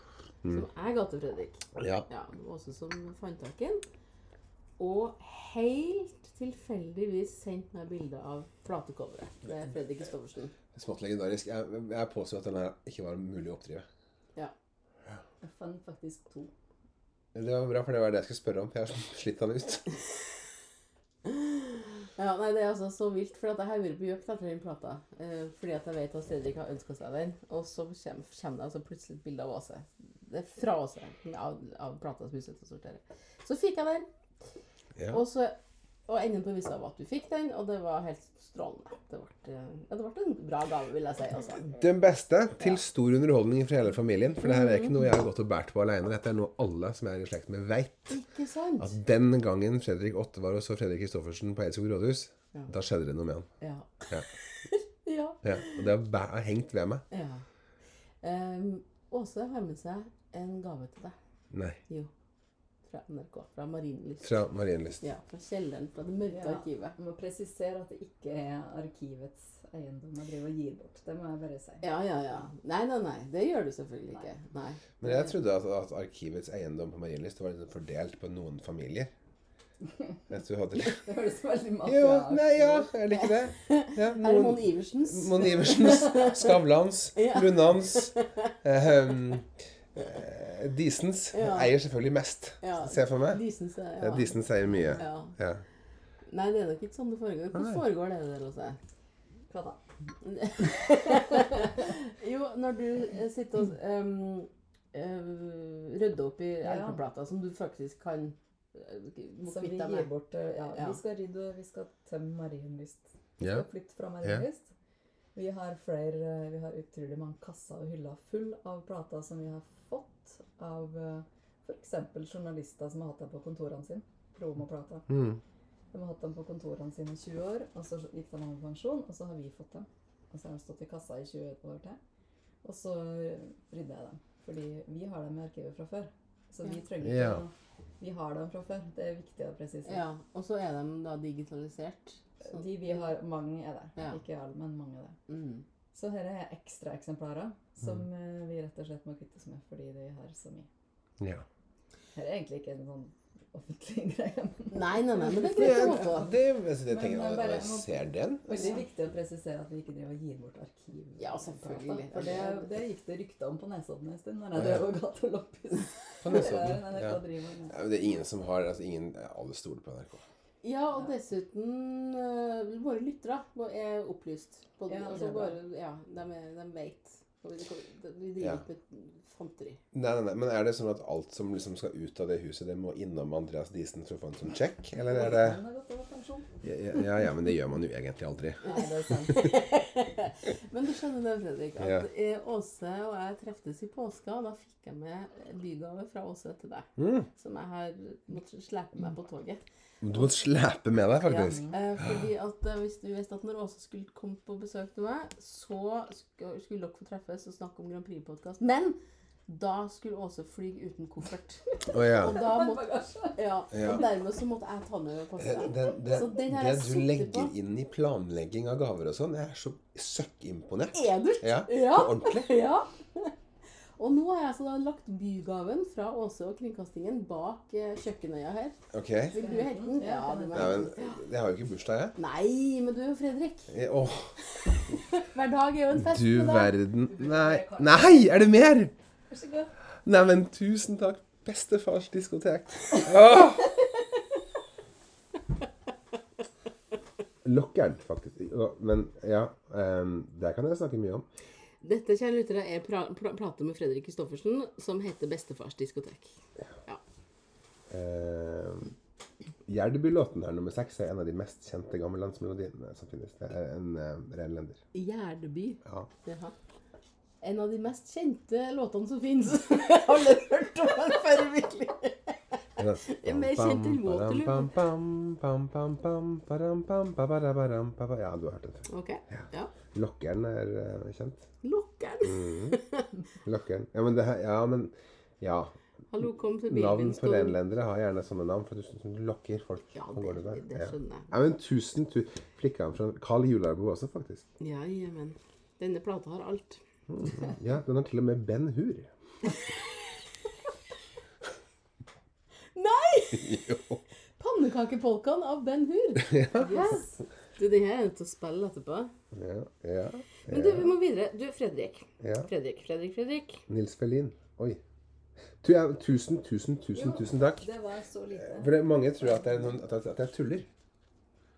Som jeg ga til Fredrik.
ja.
Ja, det var Åse som fant tak i den. Og helt tilfeldigvis sendt meg bilde av platecoveret. Det er Fredrik Kristoffersen.
Smått legendarisk. Jeg, jeg påstår at den her ikke var mulig å oppdrive.
Ja.
Jeg fant faktisk to.
Det var bra, for det var det jeg skulle spørre om. for Jeg har slitt han ut.
Ja, nei, Det er altså så vilt, for at jeg har vært på jakt etter den plata. eh, fordi at jeg vet at Fredrik har ønska seg den. Og så kommer, kommer det altså plutselig et bilde av Åse. Det er fra Åse. Av, av plata som hun sitter og sorterer. Så fikk jeg den.
Ja.
Og, så, og enden på visa var at du fikk den, og det var helt strålende. Det ble, ja, det ble en bra gave, vil jeg si. altså.
Den beste til stor underholdning for hele familien. For det her er ikke noe jeg har gått og båret på alene. Dette er noe alle som jeg er i slekt med, veit.
Ikke sant?
At den gangen Fredrik Åtte var og så Fredrik Kristoffersen på Eidskog rådhus,
Ja.
da skjedde det noe med han.
Ja.
Ja.
ja.
Ja. Og det har bæ- har hengt ved meg.
ja. Em, Åse har med seg en gave til deg.
Nei.
Jo. Fra NRK. Fra Marienlyst.
Fra Marienlyst.
Ja, fra kjelleren, fra det mørke
Ja.
arkivet.
Jeg må presisere at det ikke er arkivets eiendom jeg driver og gir bort. Det må jeg bare si.
Ja, ja, ja. Nei, nei, nei. Det gjør du selvfølgelig ikke. Nei.
Men jeg trodde at, at arkivets eiendom på Marienlyst var liksom fordelt på noen familier. Vet du, hadde...
Det høres veldig
Jo,
mafiaaktig
nei, ja, er det ikke det? Ja,
Er det
noen...
Mon Iversens?
Mon Iversens, Skavlans,
Ja.
Lundans eh, um, eh, Disens
Ja.
eier selvfølgelig mest,
Ja.
ser jeg for meg.
Disens, ja.
Ja, Disens eier mye.
Ja.
Ja.
Nei, det er nok ikke sånn det foregår. Hvordan
Nei.
foregår det der hos deg?
Hva da?
Jo, når du eh, sitter og ehm, eh, rydder opp i
Ja.
LP-plata som du faktisk kan eh, må
Som vi
kvitte deg
gir
med.
bort eh, Ja,
Ja.
vi skal rydde og vi skal tømme Marienlyst. Vi
Ja.
skal flytte fra Marienlyst. Vi har flere eh, Vi har utrolig mange kasser og hyller full av plater som vi har fått av f.eks. journalister som har hatt dem på kontorene sine. Promoplater.
Mm.
De har hatt dem på kontorene sine i 20 år, og så gikk de av med pensjon, og så har vi fått dem. Og så har de stått i kassa i 20 år til. Og så rydder jeg dem. Fordi vi har dem i arkivet fra før. Så vi trenger ikke
Ja.
å Vi har dem fra før. Det er viktig å presisere.
Ja, og så er de da digitalisert. Sånn.
De vi har, mange er det.
Ja.
Ikke alle, men mange er det.
Mm.
Så her er ekstraeksemplarer som eh, vi rett og slett må kvittes med fordi de har så mye.
Ja.
Her er egentlig ikke en sånn offentlig greie. men
Nei, nei, nei, men det er greit å vite.
det, altså, det
Men
tenker jeg,
bare-
jeg ser den.
Veldig viktig å presisere at vi ikke driver og gir bort arkiv.
Ja, selvfølgelig.
For det, det gikk det rykter om på Nesodden en stund, når
Å,
jeg
ja.
drev og ga til loppis.
På
Det
Nesodden,
er en NRK
ja.
driver med.
Ja, men Det er ingen som har altså, ingen, Alle stoler på NRK.
Ja, og dessuten eh, våre lyttere var- er opplyst. På,
Ja, det
altså,
er bra.
bare, ja, de, er, de vet. Og Vi de- vi
Ja.
driver ikke med fanteri.
Nei, nei, nei, Men er det sånn at alt som liksom skal ut av det huset, det må innom Andreas Diesen Trofan som sånn check? Eller er det
Men har gått over pensjon.
ja, ja, ja, men det gjør man jo egentlig aldri.
Nei, det er sant.
Men du skjønner det, Fredrik, at
Ja.
eh, Åse og jeg treftes i påska. Og da fikk jeg med bygave fra Åse til deg.
Mm.
Som jeg har måttet slepe meg på toget.
Du må slepe med deg, faktisk.
Ja, eh, fordi at eh, hvis du visste at når Åse skulle komme på besøk til meg, så skulle, skulle dere få treffes og snakke om Grand Prix-podkast. Men da skulle Åse fly uten koffert.
Å ja.
Og, da
Men
måtte,
bagasje.
ja,
Ja.
og dermed så måtte jeg ta med
Den,
meg passet.
den, den,
Så den har
det
jeg
du
sittet
legger
på.
inn i planlegging av gaver og sånn, jeg er så søkkimponert.
Edelt!
Ja,
Ja.
på ordentlig.
ja. Og nå har jeg altså da lagt bygaven fra Åse og Kringkastingen bak eh, kjøkkenøya her.
Ok.
Vil du hente den? Ja, du må
Nei,
hente
men
den.
jeg har jo ikke bursdag, jeg.
Nei, men du, Fredrik.
Jeg- Åh,
Hver dag er jo en fest.
du
med deg.
verden. Nei. Nei, er det mer?
Vær så god.
Nei, men tusen takk. Bestefars diskotek. Åh! Lockeren, faktisk. Å, Men ja, ehm, det kan jeg snakke mye om.
Dette, kjære lyttere, er pra pla- plate med Fredrik Kristoffersen som heter Bestefars diskotek.
Uh, Gjerdebylåten her, nummer seks, er en av de mest kjente gammellandsmelodiene som finnes. Det er en uh, renlender.
Gjerdeby.
Ja.
Jaha. En av de mest kjente låtene som fins. Har aldri hørt om den før, virkelig.
En
mer kjent enn Waterloo.
Waterloo. Ja, du har hørt den før.
Ok, ja.
Lokkeren er eh, kjent.
Lokkeren.
Mm. Lokkeren. Ja, men det her Ja, men ja.
Hallo, kom til bilen
Navn
min.
på renlendere har gjerne sånne navn, for du syns du lokker folk.
Ja,
Sånn går
det, det,
der. Ja.
skjønner jeg.
Ja, men tusen tu... Flikka han fra Carl Jularbo også, faktisk.
Ja, ja, men. Denne plata har alt.
Ja, den har til og med Ben Hur.
Nei!
Jo.
Pannekakepolkaen av Ben Hur. Yes. Du, den her er nødt til å spille etterpå.
Ja, ja,
Men du, vi må videre. Du, Fredrik.
ja.
Fredrik, Fredrik, Fredrik.
Nils Ferlin. Oi. Tu, ja, tusen, tusen, tusen, tusen takk.
Det var så lite.
For det, mange tror at jeg, at, jeg, at jeg tuller.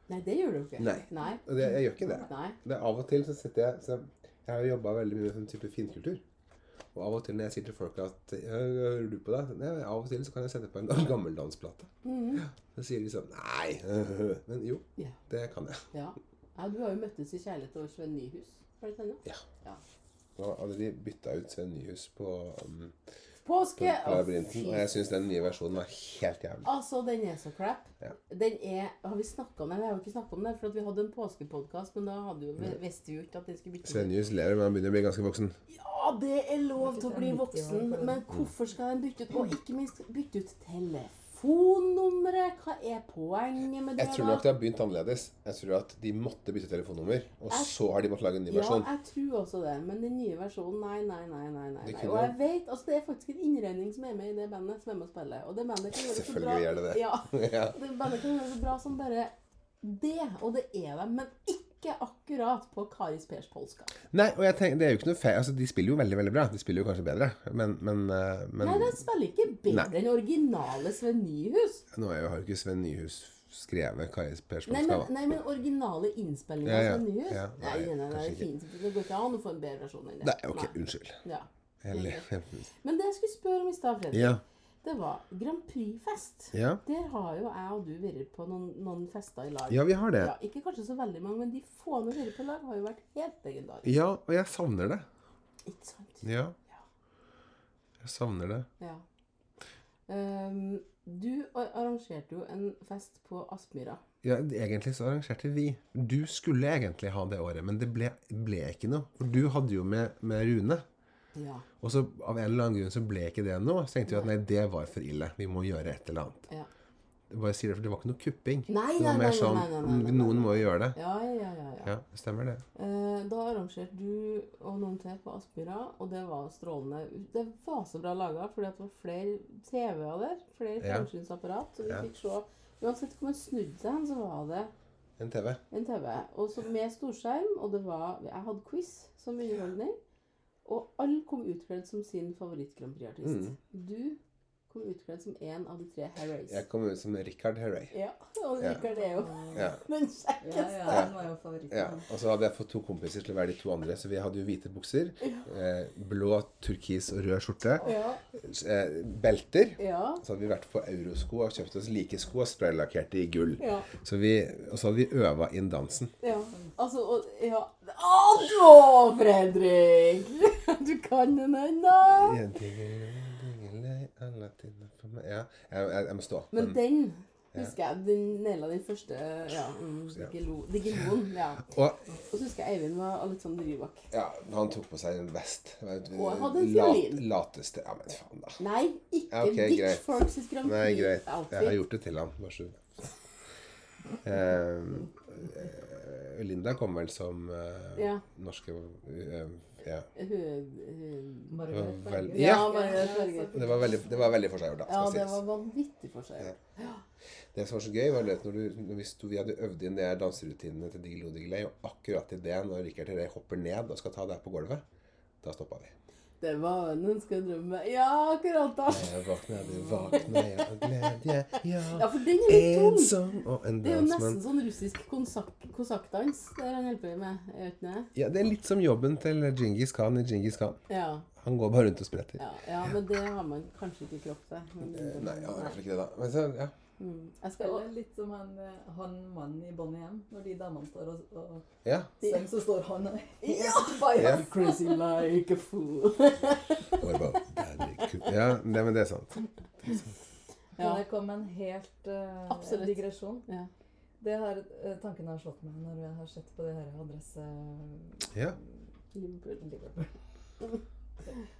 Nei, det gjør du ikke.
Nei.
Nei.
Og det, jeg gjør ikke det.
Nei.
det er av og til så sitter jeg så Jeg har jo jobba veldig mye med sånn type finkultur. Og av og til når jeg sier til folk at «Ja, Hører du på det? Nei, Av og til så kan jeg sette på en gammel dansplate. Så sier de sånn Nei. øh, Men jo,
Ja.
det kan jeg.
Ja. ja, du har jo møttes i kjærlighet over Sven Nyhus. Var det denne?
Ja.
Ja.
Nå hadde de bytta ut Sven Nyhus på, um, på
Påske! Å,
Labyrinten, og jeg syns den nye versjonen var helt jævlig.
Altså, den er så crap.
Ja.
Den er Har vi snakka om den? Jeg har jo ikke snakka om den, for at vi hadde en påskepodkast, men da hadde jo, visste vi jo ikke at den skulle bytte
Sven Nyhus lever, men han begynner å bli ganske voksen.
Ja, det er lov til å bli
Jeg
voksen,
synes det er nyttig å ha
men hvorfor skal den bytte ut? Og ikke minst, bytte ut telefonnummeret. Hva er poenget med det?
Jeg tror nok det har begynt annerledes. Jeg tror at de måtte bytte telefonnummer, og
Jeg-
så har de måttet lage en ny
Ja,
versjon.
jeg tror også det, men den nye versjonen Nei, nei, nei. nei, nei,
Det
nei.
kunne-
Og jeg vet, altså Det er faktisk en innredning som er med i det bandet som er med å spille. Og det bandet kan gjøre så bra
Selvfølgelig gjør det det.
Ja,
Ja.
det bandet kan gjøre så bra som bare det. Og det er de, men ikke akkurat på Karis Pers polska.
Nei, og jeg tenker, det er jo ikke noe feil. Altså, de spiller jo veldig, veldig bra. De spiller jo kanskje bedre, men, men, eh, men
Nei, den spiller ikke bedre enn originale Sven Nyhus.
nå er jo, har jo ikke Sven Nyhus skrevet Kari
Nei men,
Persbomskava.
nei, men originale innspillinger
Ja, ja.
av Sven Nyhus?
Ja,
nei,
nei,
nei, nei, det,
kanskje
er fint. det går ikke an å få en bedre versjon enn det.
Nei, ok,
Nei.
unnskyld.
Ja.
Jeg le-
Men det jeg skulle spørre om i stad, Fredrik,
Ja.
det var Grand Prix-fest.
Ja.
Der har jo jeg og du vært på noen, noen fester i lag.
ja, vi har det.
Ja, ikke kanskje så veldig mange, men de få vi har vært på lag, har jo vært helt legendariske.
Ja, og jeg savner det.
Ikke sant?
Ja. Jeg savner det.
Ja. Ehm, du ar- arrangerte jo en fest på Aspmyra.
Ja, egentlig så arrangerte vi. Du skulle egentlig ha det året, men det ble, ble ikke noe. For du hadde jo med, med Rune.
Ja.
Og så av en eller annen grunn så ble ikke det nå. Så tenkte vi at nei, det var for ille. Vi må gjøre et eller annet.
ja.
Jeg Bare sier det, for det var ikke noe kupping.
Nei,
det
nei,
var
nei,
mer
nei,
sånn
nei, nei, nei, nei,
Noen må jo gjøre det.
Ja, ja, ja. ja.
Ja, det stemmer det.
Eh, Da arrangerte du og noen til på Aspmyra, og det var strålende. Det var så bra laga, fordi at det var flere TV-er der. Flere
Ja.
fjernsynsapparat. Og vi
Ja.
fikk se Uansett hvor man snudde seg hen, så var det
En TV.
en TV. Og så med storskjerm, og det var Jeg hadde quiz som underholdning. Og alle kom utkledd som sin favoritt-Grand Prix-artist.
Mm.
Du kom utkledd som en av de tre Harrys.
Jeg kom ut som Richard Herrey.
Ja, og
Ja.
Rikard er jo
Ja.
den
Ja,
kjekkeste.
ja, han var jo favoritten.
Ja,
han.
og så hadde jeg fått to kompiser til å være de to andre, så vi hadde jo hvite bukser, eh, blå, turkis og rød skjorte,
Ja.
eh, belter.
Ja.
Så hadde vi vært på Eurosko og kjøpt oss like sko og spraylakkerte i gull.
ja.
Så vi, og så hadde vi øva inn dansen.
Ja, altså og, ja. Å, da, Fredrik! Du kan den ennå!
En ting er en ting er lei, alle tider for meg. Ja, jeg, jeg, jeg må stå.
Men
Men-
den husker jeg. Den naila den første ja, mm,
Ja.
digilo- digiloen. Ja.
Og
Og så husker jeg Eivind var Alexander Rybak.
ja, han tok på seg en vest.
Og hadde en fiolin.
lateste Ja, men faen, da.
Nei, ikke
Ja, ok, greit.
Dick Forks Grand
Nei, greit. Jeg har
Prix-outfit.
gjort det til han. Bare så Eh, eh, Linda kom vel som eh,
Ja.
norske eh, ja.
Hun- hun-
Bare
Det var
farger.
veldig- Ja.
Ja, bare farger.
Det var veldig, det var veldig forseggjort, da.
Ja,
skal
det
sies.
var vanvittig forskjell.
Ja. Det som var så gøy, var det at når, du, når vi, sto, vi hadde øvd inn de her danserutinene til Digilo Digilei, og akkurat i det, når Rikard Herrey hopper ned og skal ta deg på gulvet, da stoppa vi.
Det var en ønska drømme. Ja, akkurat da!
Jeg våkna, du våkna, jeg av glede,
Ja,
ja.
for den er litt tung.
Ensom og en
Det er jo
dansmann.
nesten sånn russisk konsak- kosakkdans der han holder på med. Jeg vet ikke.
Ja, det er litt som jobben til Djingis Khan i Djingis Khan.
Ja,
Han går bare rundt og spretter.
ja, ja, men det har man kanskje ikke kropp til. Men,
Eh, Nei, han gjør ikke det, da. Men så, ja.
mm. Jeg skal
Eller litt som han, eh, han mannen i Bonnie M. Når de damene står og, og
ja.
synger, så står han og
Ja!
Bare-
Ja.
Crazy like a fool.
Og jeg bare, "Daddy, ku-" ja det, men det er sant.
Ja.
Kan jeg komme med en helt eh,
Absolutt.
digresjon?
Ja.
Det har, eh, tanken har slått meg når jeg har sett på det her adresse
Ja.
Liverpool.
Liverpool.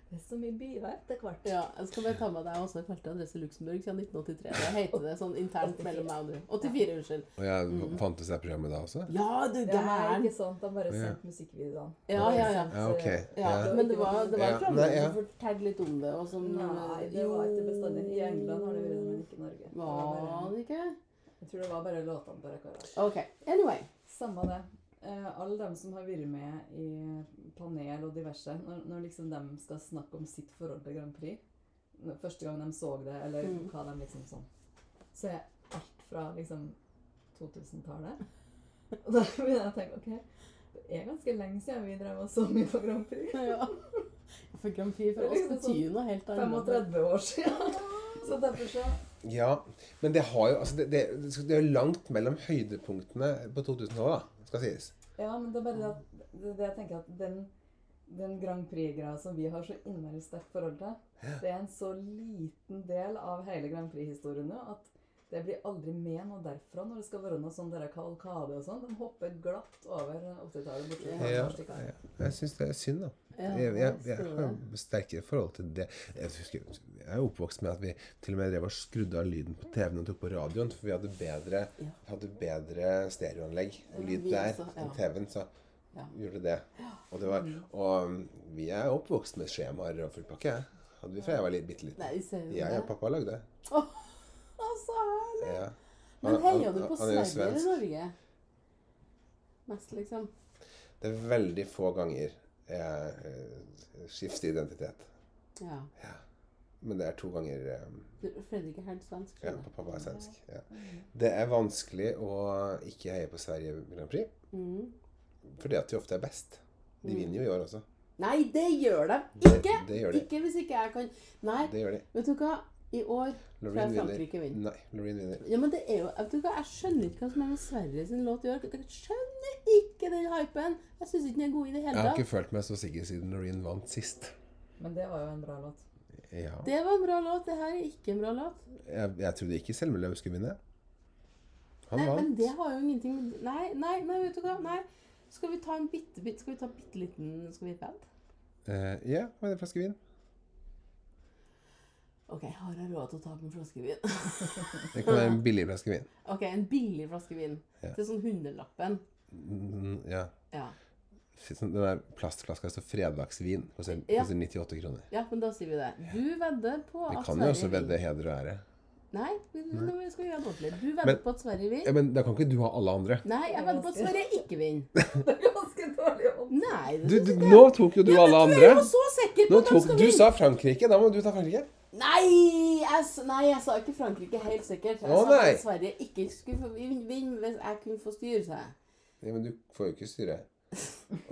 Det er så mye biverk til hvert.
Ja, jeg skal bare ta med deg også i første adresse Luxembourg siden 1983. Det heter det sånn internt mellom meg og du. 84, unnskyld.
Og jeg
Mhm.
fantes det programmet da også?
Ja, du
Det er
gæren!
ikke sant, han bare
Ja.
sendt musikkvideoen.
Ja, ja, ja.
Ja, ok.
Ja,
Ja.
men det var, det var
Ja,
framme
nei, ja.
som fortalte litt om det, og sånn, eh, som
Nei, det var ikke bestandig. I England har det vært, sånn. men ikke i Norge. Det var
Var
bare,
det ikke?
jeg tror det var bare låtene på rekordet.
OK. Anyway.
Samme det. Eh, alle dem som har vært med i panel og diverse, når, når liksom dem skal snakke om sitt forhold til Grand Prix, når- første gang de så det, eller
Mm.
hva de liksom sånn, så er alt fra liksom 2000-tallet. Og da begynner jeg å tenke, ok, det er ganske lenge siden vi drev og så mye på Grand Prix.
Ja. For Grand Prix for
Det er
oss
liksom
betyr jo noe helt annet.
35 år siden. Så derfor så,
Ja, men det har jo altså det, det, det er jo langt mellom høydepunktene på 2000-tallet, da, skal sies.
ja, men det er bare det at, det, det jeg tenker at den, den Grand Prix-greia som vi har så innmari sterkt forhold til, det er en så liten del av hele Grand Prix-historien nå, at det blir aldri med noe derfra når det skal være noe sånn der kavalkade og sånn. De hopper glatt over 80-tallet. bortsett fra
Ja,
et par stykker.
ja. Jeg syns det er synd, da.
Ja,
Jeg, jeg,
det
jeg
står
har
det.
sterkere forhold til det. Jeg, husker, jeg er jo oppvokst med at vi til og med drev og skrudde av lyden på TV-en og tok på radioen, for vi hadde bedre,
Ja.
hadde bedre stereoanlegg og lyd
vi
der
også,
enn
ja.
TV-en. så
Ja. Mhm.
gjorde det. Og, det var, og um, vi er oppvokst med skjemaer og full pakke. Hadde vi fra jeg var litt bitte liten.
Nei, ser du
Jeg og
det?
pappa lagde det.
Å, så herlig!
Ja.
Men
Han-
heier du
han-
på
han er jo
Sverige eller
svensk.
Norge? Mest, liksom.
Det er veldig få ganger jeg eh, skifter identitet.
Ja.
Men det er to ganger eh,
Du, Fredrik er helt svensk.
ja,
skjønner jeg.
pappa er svensk. Ja. Det er vanskelig å ikke heie på Sverige Grand Prix,
Mm.
fordi at de ofte er best. De vinner jo i år også.
Nei, det gjør de
Det-
ikke!
det gjør de.
Ikke hvis ikke jeg kan Nei,
Det gjør de.
vet du hva? I år tror
Loreen
jeg Frankrike
vinner.
vinner.
Nei, Loreen vinner.
Ja, men det er jo Vet du hva, jeg skjønner ikke hva som er med Sverige sin låt i år. Jeg skjønner ikke den hypen! Jeg syns ikke den er god i det
Jeg
hele
har
tatt.
ikke følt meg så sikker siden Loreen vant sist.
Men det var jo en bra låt.
Ja.
Det var en bra låt. Det her er ikke en bra låt.
Jeg, jeg trodde ikke Selmeløv skulle vinne. Han
Nei, men
vant.
det har jo ingenting med Nei, nei, nei, vet du hva. Nei. Skal vi ta en bitte, bitte Skal vi ta bitte liten Skal vi band?
Eh, Ja, med en flaske vin.
OK, har jeg råd til å ta opp en flaske vin?
Det kan være en billig flaske vin.
OK, en billig flaske vin.
Ja.
Til sånn hundrelappen.
Mm, ja.
Ja.
Sånn, Den der plastflaska står 'fredagsvin'. Koster
Ja.
koster 98 kroner.
ja, men da sier vi det. Du vedder på
Vi
at
kan jo
Sverige
også vedde
vinner.
heder og ære.
Nei, vi, vi skal gjøre det ordentlig. Du vedder
Men-
på at Sverige
Ja,
vinner.
men da kan ikke du ha alle andre.
Nei, jeg vedder på at Sverige ikke vinner.
Det er ganske dårlig å
Nei, det
Du,
synes
du,
jeg ikke.
nå tok jo du
Ja, men
alle
Du er jo
andre.
så sikker på
Nå
at de
tok,
skal
du
vinne.
sa Frankrike. Da må du ta Frankrike.
Nei jeg, s- nei, jeg sa ikke Frankrike helt sikkert. Jeg
Å,
sa
nei.
at Sverige ikke skulle få vin- vinne hvis jeg kunne få styre seg.
Ja, men du får jo ikke styre.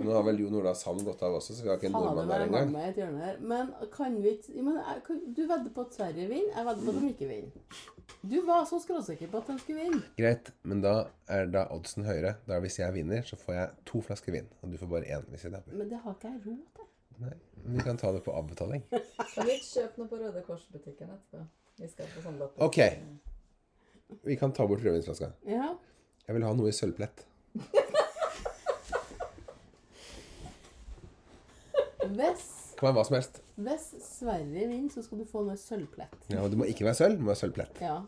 Og nå har vel Jon Ola Sand gått av også, så vi har ikke en
Fader,
nordmann
nå
der
er jeg
engang.
meg i et hjørne her. Men kan vi ikke ja, men jeg kan- Du vedder på at Sverige vinner. Jeg vedder på at de ikke vinner. Du var så skråsikker på at de skulle vinne.
Greit, men da er da oddsen høyere. Da Hvis jeg vinner, så får jeg to flasker vin. Og du får bare én hvis jeg taper.
Men det har ikke jeg råd til.
Nei, men Vi kan ta det på avbetaling.
Kan vi ikke kjøpe noe på Røde Kors-butikken etterpå? Vi skal på sånn lotte.
Ok. Vi kan ta bort rødvinsflaska.
Ja.
Jeg vil ha noe i sølvplett.
Hvis,
Det kan være hva som helst.
hvis Sverige vinner, så skal du få noe sølvplett.
Ja, og Det må ikke være sølv, det må være sølvplett.
Ja.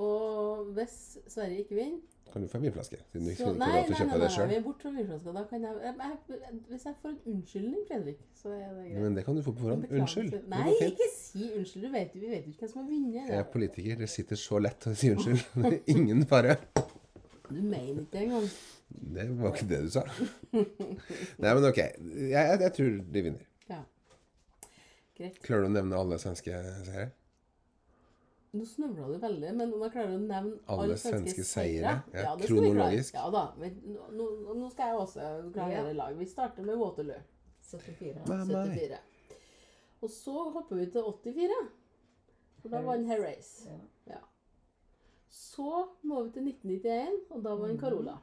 Og hvis Sverige ikke vinner
Kan du få en vinflaske? Siden du ikke
så,
skulle
nei,
få lov til å
nei, nei,
kjøpe
nei,
det
nei, vi
sjøl.
er bort fra vinflaska. Da kan jeg, jeg, jeg, hvis jeg får en unnskyldning, Fredrik, så er det greit.
Men det kan du få på forhånd.
Beklager.
Unnskyld. Det
Nei,
går fint.
ikke si unnskyld. Du vet, vi vet jo ikke hvem som har vunnet.
Jeg er
det.
politiker. Det sitter så lett å si unnskyld. Det er Ingen fare.
Du mener ikke det engang.
Det var ikke det du sa. Nei, men ok. Jeg, jeg, jeg tror de vinner.
Ja. Greit.
Klarer du å nevne alle svenske seire?
Nå snøvla du veldig, men om jeg klarer å nevne
Alle svenske seire? Ja,
det skal vi klare.
kronologisk.
Ja da. Men nå, nå- nå skal jeg også klare
Ja.
det i lag. Vi starter med Waterloo.
74.
Nei, nei.
74. Og så hopper vi til 84. For da vant Herreys.
Ja.
Så må vi til 1991, og da
Mm.
vant Carola.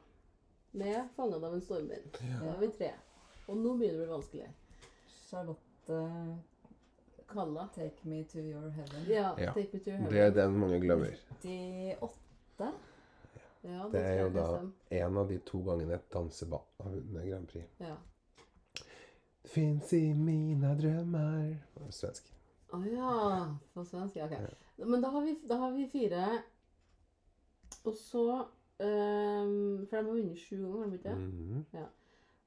Med 'Fanget av en stormvind'. Da er vi tre. Og nå begynner det å bli vanskelig.
Charlotte,
Kalla.
Take Me To Your Heaven.
Ja,
Ja.
Take Me To Heaven.
Det er den mange glemmer.
98.
ja,
Det er jo
skal jeg
da
lese.
en av de to gangene et danseball har vunnet Grand Prix.
Ja.
Det fins i mine drømmer Det er Svensk.
Å ja. På svensk, ja. Ok. Men da har vi, da har vi fire. Og så ehm, For de har vunnet sju ganger, har de ikke det?
Mhm.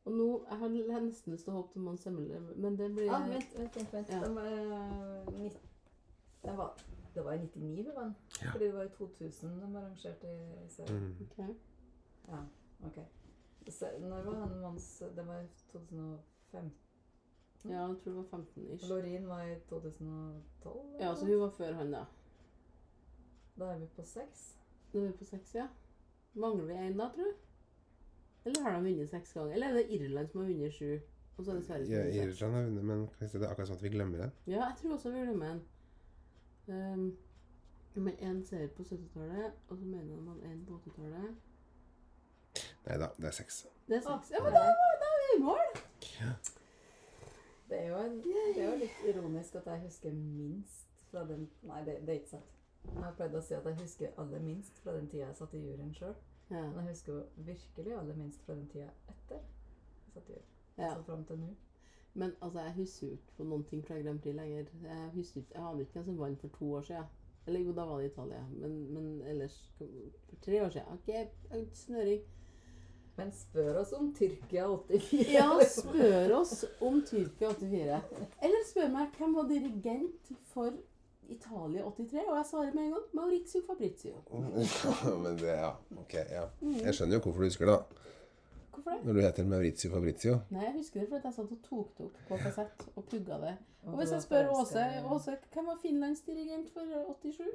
Og nå Jeg har l- nesten lyst til å hoppe til Mons Hemmelig, men det blir
Ja, Ah,
Ah,
vent, vent, vent. vent.
Ja.
Den var, eh, nitt- den var, det var i 99 vi vant. Fordi det var i 2000 de arrangerte i serien.
Mhm.
Ok. Mm.
Ja, ok. Så, når var han Mons Det var i 2005.
Ja, jeg tror det var 15 ish.
Lorin var i 2012.
Ja, så hun var før han, da.
Da er vi på seks.
Nå er vi på seks, ja. Mangler vi én da, tror du? Eller har de vunnet seks ganger? Eller er det Irland som har vunnet sju? Og så er det Sverige som
Ja,
har vunnet seks?
Irland har vunnet, men kan vi si det er akkurat sånn at vi glemmer den.
Ja, jeg tror også vi glemmer en. Ehm, men én serie på 70-tallet, og så mener man én på 80-tallet.
Nei da, det er seks.
Det er seks. Ja, men da,
det,
var- da er vi i mål!
det, er jo en, det er jo litt ironisk at jeg husker minst fra den Nei, det, det er ikke sant. Jeg har pleid å si at jeg husker aller minst fra den tida jeg satt i juryen sjøl.
Ja.
Men jeg husker jo virkelig aller minst fra den tida etter. Jeg satt i juryen.
ja.
Altså fram til nå.
Men altså, jeg husker jo ikke på noen ting fra Grand Prix lenger. Jeg husker ikke, jeg aner ikke hvem som vant for to år siden. Eller jo, da var det Italia. Men, men ellers For tre år siden. Ok, jeg har ikke snøring.
Men spør oss om Tyrkia 84.
Ja, spør oss om Tyrkia 84. Eller spør meg hvem var dirigent for Italia 83, og jeg svarer med en gang Maurizio Fabrizio. Mm,
men det, ja. Ok, ja. Jeg skjønner jo hvorfor du husker det, da.
Hvorfor det?
Når du heter Maurizio Fabrizio.
Nei, jeg husker det fordi jeg satt og tok det opp på kassett og pugga det. Og
du
hvis
var
jeg spør
forelsket
Åse,
i-
Åse hvem var Finlands dirigent for 87?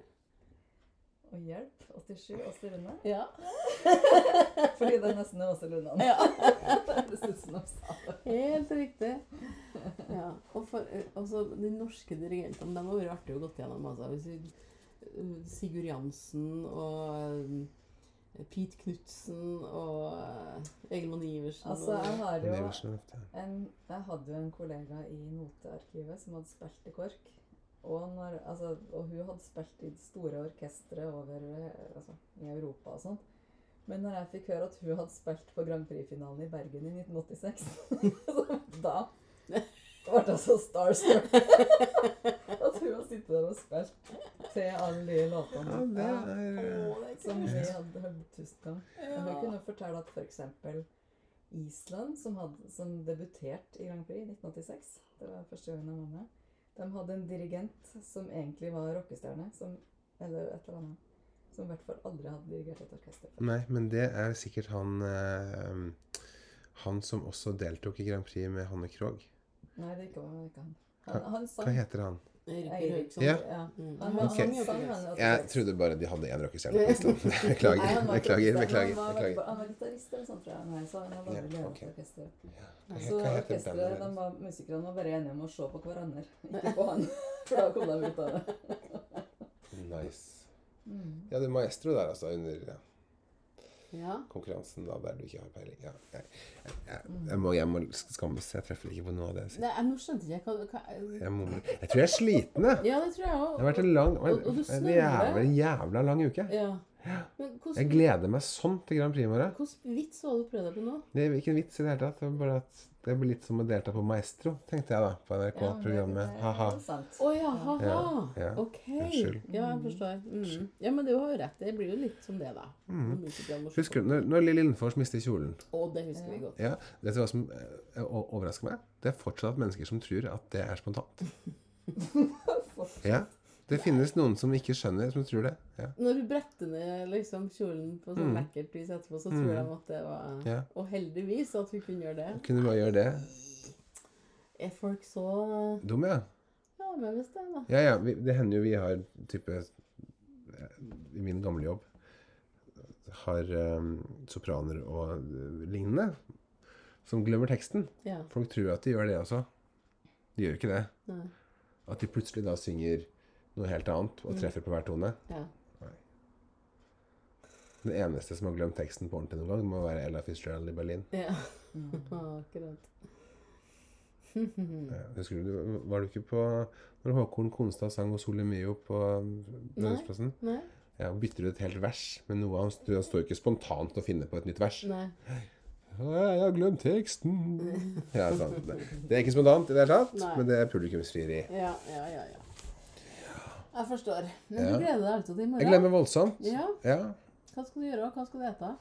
Og hjelp, 87 Åse Lunde.
Ja.
Fordi det er nesten Åse Lunde.
Ja.
Det synes hun sa det.
Helt riktig. Ja. Og for, og så de norske dirigentene, de har vært artig å gått gjennom. Altså. Hvis vi- eh, Sigurd Jansen og eh, Pete Knutsen og eh, Egil Monn Iversen
Altså, jeg
og,
har jo
Det er vel så ofte.
en, jeg hadde jo en kollega i notearkivet som hadde spilt i KORK. Og, når, altså, og hun hadde spilt i store orkestre over, eh, altså, i Europa og sånt. Men når jeg fikk høre at hun hadde spilt på Grand Prix-finalen i Bergen i 1986, så da ble jeg så starstruck at hun har sittet der og spilt til alle de
Ja,
låtene
det eh, er
Å, det er
som
kult.
vi hadde hørt tusen ganger. Og hun
Ja.
kunne jo fortelle at f.eks. Island, som, hadde, som debuterte i Grand Prix i 1986 Det var første gangen jeg var med. De hadde en dirigent som egentlig var rockestjerne, som, eller et eller annet. Som i hvert fall aldri hadde dirigert et orkester. før.
Nei, men det er sikkert han eh, Han som også deltok i Grand Prix med Hanne Krogh. Mm.
Nei, det ikke var ikke han.
Hva-
Han, han
Hva
sang
heter han?
Eirik
Eirik.
Høgson.
Ja.
Ja.
Mm.
Han, han,
Ok.
han sang han
Jeg trodde bare de hadde én rockestjerne på Island. Beklager.
Nei, han var ikke
Beklager.
orkester.
beklager,
Han var,
beklager.
Han var gitarist eller sånt, tror jeg. Nei, så han hadde
Ja,
aldri ledet
ok.
orkester.
Hva
Så
he- hva heter
orkesteret,
bandet
de
deres?
var, musikerne var bare enige om å se på hverandre, ikke på han. For da kom de ut av det.
Nice. Ja, det er Maestro der, altså. Under ja,
Ja.
konkurransen da, der du ikke har peiling. Ja, jeg, jeg, jeg, jeg, må, jeg må skamme meg. Jeg treffer ikke på noe av det jeg sier.
Det er, nå skjønte jeg ikke hva- hva
Jeg, mumler. jeg tror jeg er sliten, jeg.
Ja, det tror jeg
Det har vært
òg.
en lang,
og- og du
en
snøvler.
jævla, jævla lang uke.
Ja. Men
Jeg
hvordan
gleder meg sånn til Grand Prix i morgen.
hvordan vits var det du prøvde deg på nå?
Det er ikke en vits i det hele tatt. Det var bare at det blir litt som å delta på Maestro, tenkte jeg da, på NRK-programmet. Ha-ha.
Å ja, ha-ha.
Ja, ja.
Ok.
Unnskyld.
Ja, jeg forstår. Mm. Ja, men du har jo rett. Det blir jo litt som det, da. Husker
Mm. Husker du når, når Lill Lindfors mister kjolen?
Å, det husker vi godt.
Ja, Vet du hva som eh, o- overrasker meg? Det er fortsatt mennesker som tror at det er spontant. Ja, Det finnes noen som ikke skjønner, som tror det. Ja.
Når du bretter ned liksom, kjolen på sånn lekkert vis etterpå, så tror de at det var
Mm. Ja.
Og heldigvis at hun kunne gjøre det.
Kunne bare gjøre det.
Er folk så
Dum, ja.
Ja, men hvis det, da.
Ja, ja. Vi, det hender jo vi har type eh, I min gamle jobb har eh, sopraner og eh, lignende som glemmer teksten.
Ja.
Folk tror at de gjør det også. De gjør ikke det.
Nei.
At de plutselig da synger noe helt annet og treffer på hver tone.
ja.
Den eneste som har glemt teksten på ordentlig noen gang, må være Ella Fitzgerald i Berlin.
ja. Akkurat.
Ja, Husker du, du- Var du ikke på når Håkon Konstad sang og Sole Mio på Bergensplassen?
Nei?
Ja, bytter ut et helt vers med noe han, han står ikke spontant og finner på et nytt vers.
Nei.
«Nei, Jeg har glemt teksten. Ja, sant. Det det er ikke spontant i det hele tatt,
Nei.
men det er publikumsfrieri.
Ja, ja, ja. ja. Jeg forstår. Men
Ja.
du gleder deg altså til i morgen?
Jeg glemmer voldsomt.
Ja.
Ja.
Hva skal du gjøre, og hva skal du ete?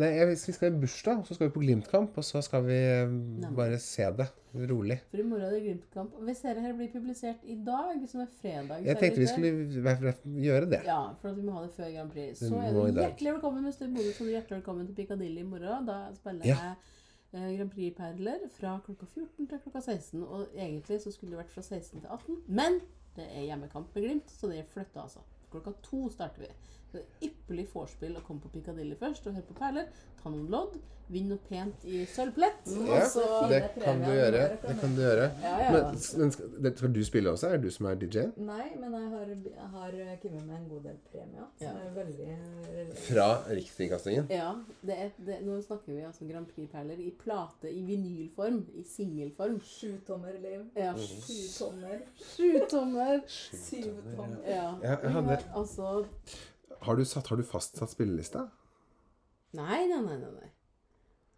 Nei, jeg, vi skal i bursdag, så skal vi på Glimt-kamp, og så skal vi eh, bare se det rolig.
For i morgen er det Glimt-kamp. Og Hvis dette her blir publisert i dag, som er fredag så er
Jeg
det
tenkte vi
ikke-
skulle i hvert fall gjøre det.
Ja, for at vi må ha det før Grand Prix. Så
Vi
er
må i
du
dag.
hjertelig velkommen hvis du bor så er du hjertelig velkommen til Piccadilly i morgen. Da spiller
Ja.
jeg eh, Grand Prix-perler fra klokka 14 til klokka 16. Og egentlig så skulle det vært fra 16 til 18, men det er hjemmekamp med Glimt, så det er flytta altså. Klokka to starter vi. Så det er Ypperlig vorspiel å komme på Piccadilly først og høre på perler. Ta noen lodd. Vinn noe pent i sølvplett.
Ja,
Og så
det kan du gjøre. Det kan du gjøre.
Ja, ja.
Men, men skal, det- skal du spille også? Er det du som er DJ-en?
Nei, men jeg har, jeg har eh, kommet med en god del premier. Som
Ja.
er veldig eh,
Fra Rikskringkastingen?
Ja, det er, det, nå snakker vi altså Grand Prix-perler i plate, i vinylform, i singelform.
Sjutommer, Liv.
Ja,
Mm.
Sjutommer.
sju tommer.
Syvtommer.
Ja.
Ja, jeg hadde-
Vi har Altså
Har du, satt, har du fastsatt spillelista?
Nei, nei, nei. nei, nei.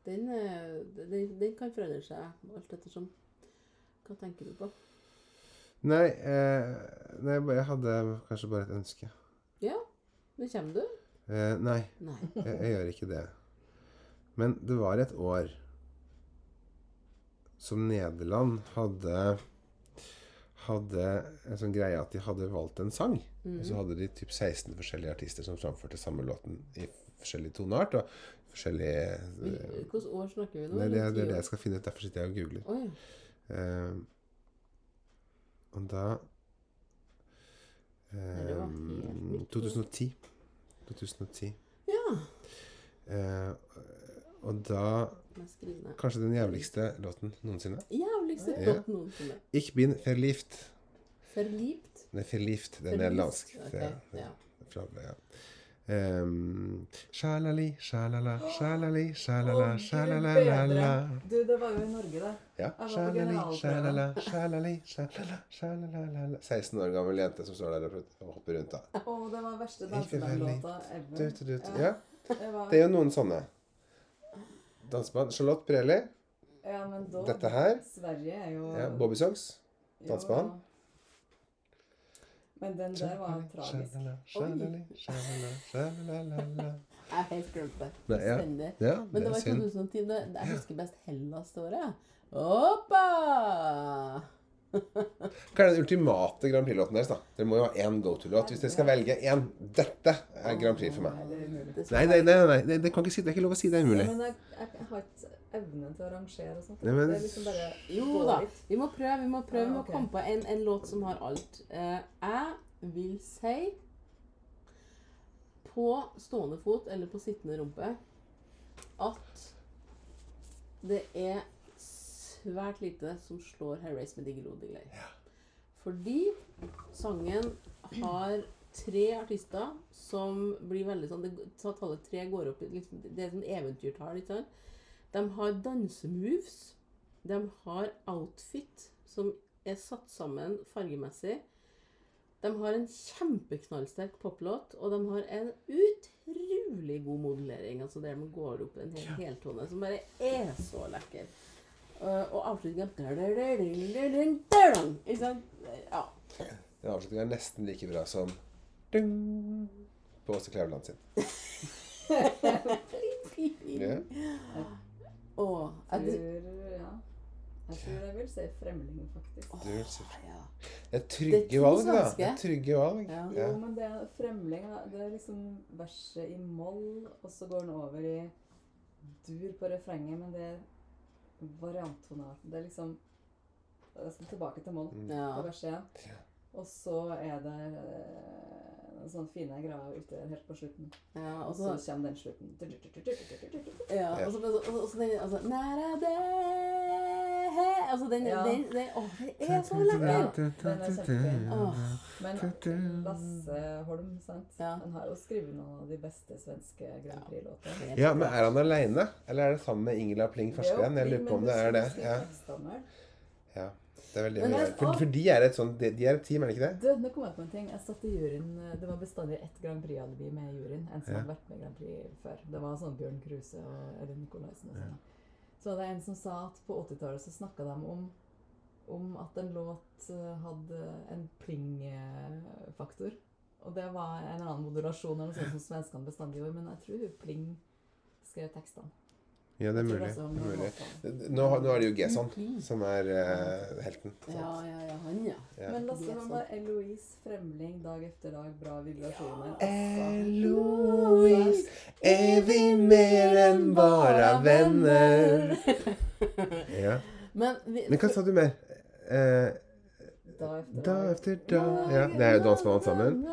Den, eh, den, den kan forandre seg alt ettersom. Hva tenker du på?
Nei, eh, nei, jeg bare- jeg hadde kanskje bare et ønske.
Ja, nå kommer du.
Eh, nei,
Nei.
jeg, jeg gjør ikke det. Men det var et år som Nederland hadde hadde en sånn greie at de hadde valgt en sang.
Mm.
Og
Mhm.
så hadde de typ 16 forskjellige artister som framførte samme låten i forskjellig toneart. Og forskjellige eh,
Hvilket år snakker vi nå?
det, er det, det er
Rundt ti
det
år?
jeg skal finne ut. Derfor sitter jeg og googler.
Å ja.
Eh, og da
det var
eh,
helt nytt.
2010. 2010.
ja.
Eh, og da
må jeg skrive ned.
kanskje den jævligste låten noensinne.
Jævligste
Ja.
plott noensinne.
Ich bin verlieft.
Forlipt.
Nei, verlieft. Det er
Forlipt,
nederlandsk.
ok,
Det er-
ja.
fra, ja. Ehm, shalali, shalala, shalali, shalala, shalalala.
Du, det var jo i Norge, det.
Ja.
var på
Shalali,
generalprøve.
shalala, shalali, shalala, shalalala. 16 år gammel jente som står der og hopper rundt. da.
Å, det var verste
Ikke veldig.
dansebandlåta
Du,
ever.
du, du, du.
Ja,
Ja.
det var,
Det er jo noen sånne. Danseband. Charlotte Pirelli.
ja, men da
Dette her.
Sverige er jo
Ja, Bobby Socks.
jo-
danseband.
Men den der var tragisk.
Shalala, shalala, shalala, shalala.
Jeg har helt glemt det.
Nei, ja.
Fullstendig.
Ja,
Men
det
det
er
var
synd.
2010. Det, det jeg husker best Hellas det året. Hoppa!
Hva er den ultimate Grand Prix-låten deres, da? Dere må jo ha én go-to-låt. Hvis dere skal velge én Dette er Grand Prix for meg.
Nei, det er umulig.
Det
Nei,
skal
nei, nei, nei, nei det, kan ikke si, det er ikke lov å si det er umulig.
Men jeg, jeg har ikke evne til å rangere og sånt.
Nei, men-
Det er liksom bare
Jo da. Vi må prøve. Vi må prøve
Ja,
Vi må
ok.
komme på en, en låt som har alt. Eh, jeg vil si på stående fot eller på sittende rumpe at det er svært lite som slår 'Harass med Digelodigler'. Fordi sangen har tre artister som blir veldig sånn det, så Tallet tre går opp i liksom, Det er sånn eventyrtall, ikke sant? De har dansemoves. De har outfit som er satt sammen fargemessig. De har en kjempeknallsterk poplåt, og de har en utrolig god modellering. Altså der de går opp en hel heltone som bare er så lekker. Uh, og avslutninga Ikke sant? Ja.
Den avslutningen er nesten like bra som Dung! på Åse Kleveland sin. Ja.
Åh,
Jeg
jeg,
tror, ja. jeg tror jeg vil si Fremling, faktisk.
Du vil si-
ja.
Det er trygge
to
valg, da.
svenske.
Det er trygge valg.
Ja.
Ja.
Jo, men det er fremling Det er liksom verset i moll, og så går den over i dur på refrenget, men det er varianttonart. Det er liksom det er nesten tilbake til moll
Ja.
på verset
Mm. Ja.
igjen. Og så er det eh, den sånn fine greia ute helt på slutten.
ja, og
Og
så
så kommer den slutten.
ja, og så- og så- og så den altså, Næra det Altså den,
Ja.
den, den Åh, det er så lekker!
Den er kjempefin.
Åh,
Men Lasse Holm, sant?
Ja.
han har jo skrevet noen av de beste svenske Grand Prix-låtene.
helt
Ja, men er han aleine? Eller er det sammen med Ingela Pling
Det er jo
Ferskeren? Jeg lurer
fint,
på om
men
det er det.
husker
Ja,
tekstene her.
ja. Det er veldig
Men
mye.
jeg-
For, for de er et sånt, de de er et team, er det ikke det?
Du, nå kom jeg på en ting. Jeg satt i juryen eh, Det var bestandig ett Grand Prix-alibi med i juryen. En som
Ja.
hadde vært med i Grand Prix før. Det var sånn Bjørn Kruse og Elin Nikolaisen og sånn. Så var det en som sa at på 80-tallet så snakka de om om at en låt eh, hadde en pling-faktor. Og det var en eller annen moderasjon eller noe sånt som svenskene bestandig gjorde. Men jeg tror hun pling skrev tekstene.
Ja, det er mulig.
Jeg tror
Det
det
er
er
mulig.
sånn.
Nå, har- nå er det jo Gesson som er eh, helten.
Ja, ja, ja, han, ja.
Ja.
Men Lasse,
Det er
han var Eloise Fremling dag etter dag. Bra viblasjoner. altså.
Eloise, er vi mer enn bare venner? Ja.
Men vi,
Men hva sa du mer? Eh,
Dag
da
etter dag.
etter da Ja, det er jo danser man sammen.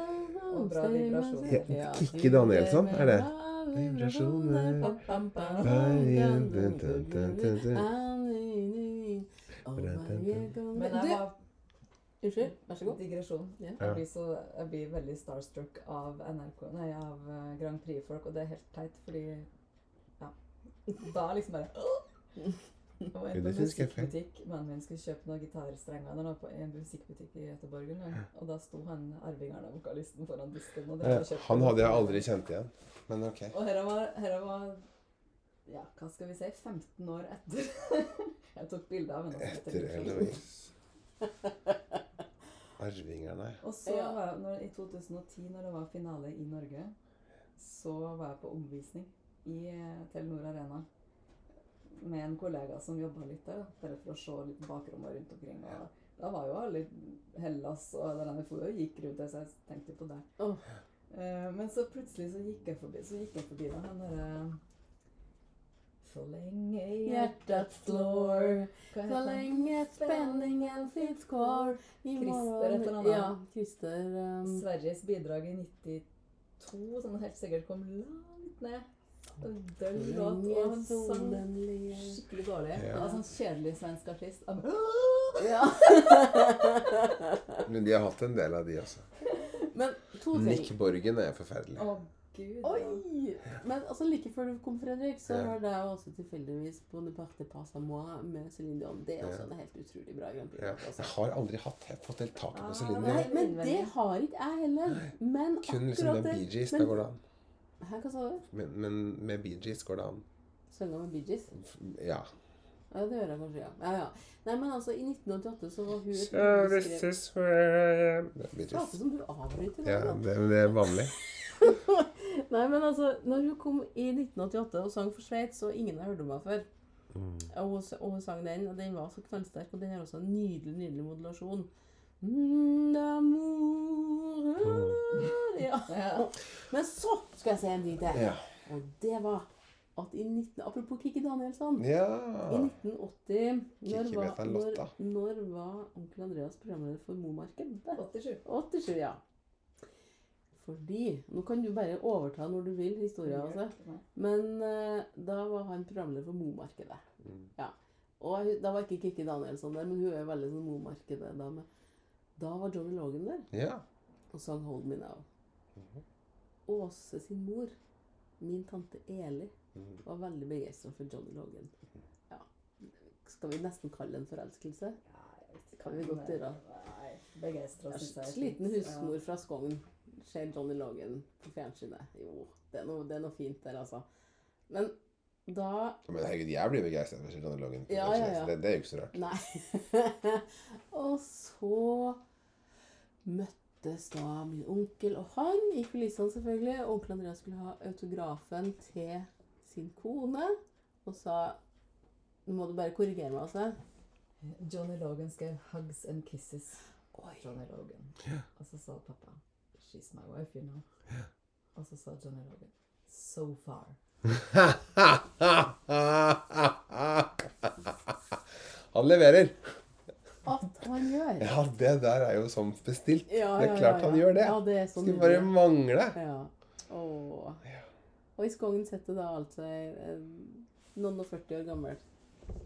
Og bra vibrasjoner.
Ja, Kikki Danielsson, er det? Vibrasjoner.
Pam, pam, pam.
Veien, dun, dun, dun, dun, dun.
Men
Men
jeg
du,
var
unnskyld, vær så god.
Digresjon.
Ja.
Ja.
Jeg, blir så, jeg blir veldig starstruck av NRK, nei, av eh, Grand Prix-folk, og det er helt teit, fordi ja. Da er liksom bare «Åh!» Jeg var
Ja,
inne
det
på en
synes jeg er fint.
musikkbutikk. Mannen min skulle kjøpe noen gitarstrenger. Han var på en musikkbutikk i Göteborg en gang, og da sto han arvingeren av vokalisten foran disken. Og
Ja,
dere kjøpte
Eh, Han hadde jeg
den.
aldri kjent igjen. Men ok.
Og her var, her var ja, hva skal vi si 15 år etter. jeg tok bilde av henne.
Etter Eloise. Arvingerne.
Og så
Ja.
var jeg, når, I 2010, når det var finale i Norge, så var jeg på omvisning i eh, Telenor Arena med en kollega som jobba litt der, da, bare for å se litt bakrommet rundt omkring. Og da var jo alle Hellas og der vi for, og gikk rundt der, så jeg tenkte på det.
Åh.
Eh, men så plutselig så gikk jeg forbi, så gikk jeg forbi da, han derre For lenge
Hjertet slår,
Hva
så
heter han?
lenge spenningen sitt går i
Christer,
morgen-
et eller annet.
Ja, Christer um,
Sveriges bidrag i 92, som helt sikkert kom langt ned. En Døll låt, og han sang
solen ligger
skikkelig dårlig.
Ja.
Det var sånn kjedelig svensk artist. Han-
Ja.
Men de har hatt en del av de også.
Men to ting.
Nick Borgen er forferdelig.
Å, gud.
Oi!
ja.
Men altså, like før du kom, Fredrik, så
Ja.
var det jo også tilfeldigvis på Ne parte pas à moi med Céline Dion. Det er også
Ja.
en helt utrolig bra Grand
Ja.
Prix-låt.
Jeg
altså.
har aldri hatt jeg har fått helt
Ah,
taket på Celine.
Nei,
Dion.
men det har ikke jeg heller. Men
Kun liksom
akkurat
med
det
Bee Gees, da
men-
går det an.
Hæ, hva sa du?
Men, men med Bee Gees går det an.
Sønga med Bee Gees?
Ja.
Ja, det gjør jeg kanskje, ja. ja, ja. Nei, men altså, i 1988 så var hun et
So
hun
this
skrev
is where uh, I am. Det er Bee Gees.
Prate som du avbryter.
Ja,
nå, da.
det, det er vanlig.
Nei, men altså, når hun kom i 1988 og sang for Sveits, og ingen har hørt om henne før, og, hun, s- og hun sang den, og den var så knallsterk, og den har også en nydelig, nydelig modulasjon. Mm, d'amour, ja.
Ja.
Men så skal jeg si en ting til.
Ja.
Og det var at i 19... Apropos Kikki Danielsson.
ja.
I 1980 når
Kikki vet
var,
en
når,
låta.
når var onkel Andreas programleder for Momarkedet?
87.
87, ja. Fordi Nå kan du bare overta når du vil historien, altså.
Nei.
Men eh, da var han programleder for Momarkedet.
Mm.
Ja. Og hun- da var ikke Kikki Danielsson der, men hun er jo veldig sånn Momarkedet-dame. Da var Johnny Logan der
ja.
og sang 'Hold Me Now'.
Mhm.
Åse sin mor, min tante Eli,
Mhm.
var veldig begeistra for Johnny Logan.
Mhm.
Ja. Skal vi nesten kalle det en forelskelse?
Det
Kan vi godt gjøre.
Nei. Begeistra, syns jeg. er
Altså, Sliten
fint.
husmor fra Skogn ser Johnny Logan på fjernsynet. Jo, det er noe, det er noe fint der, altså. Men da
Men herregud, jeg blir begeistra for Kjell Arne Lågen.
Ja, ja, ja.
Det, det er jo ikke så rart.
Nei. og så møttes da min onkel, og han i kulissene selvfølgelig. Og onkel Andreas skulle ha autografen til sin kone og sa Nå må du bare korrigere meg, altså.
Ja. Johnny Logan skrev 'Hugs and Kisses'.
Oi.
Johnny Logan. Og så sa pappa 'She's my wife, you know'. Og så sa Johnny Logan 'So far'.
Han leverer.
At han gjør!
Ja, det der er jo som bestilt.
Ja,
det er
ja,
klart
ja,
han
ja.
gjør det.
Ja, det er sånn
Skulle bare
nydelig.
mangle.
Ja. Åh. Og i skogen setter da alt seg eh, noen og 40 år gammel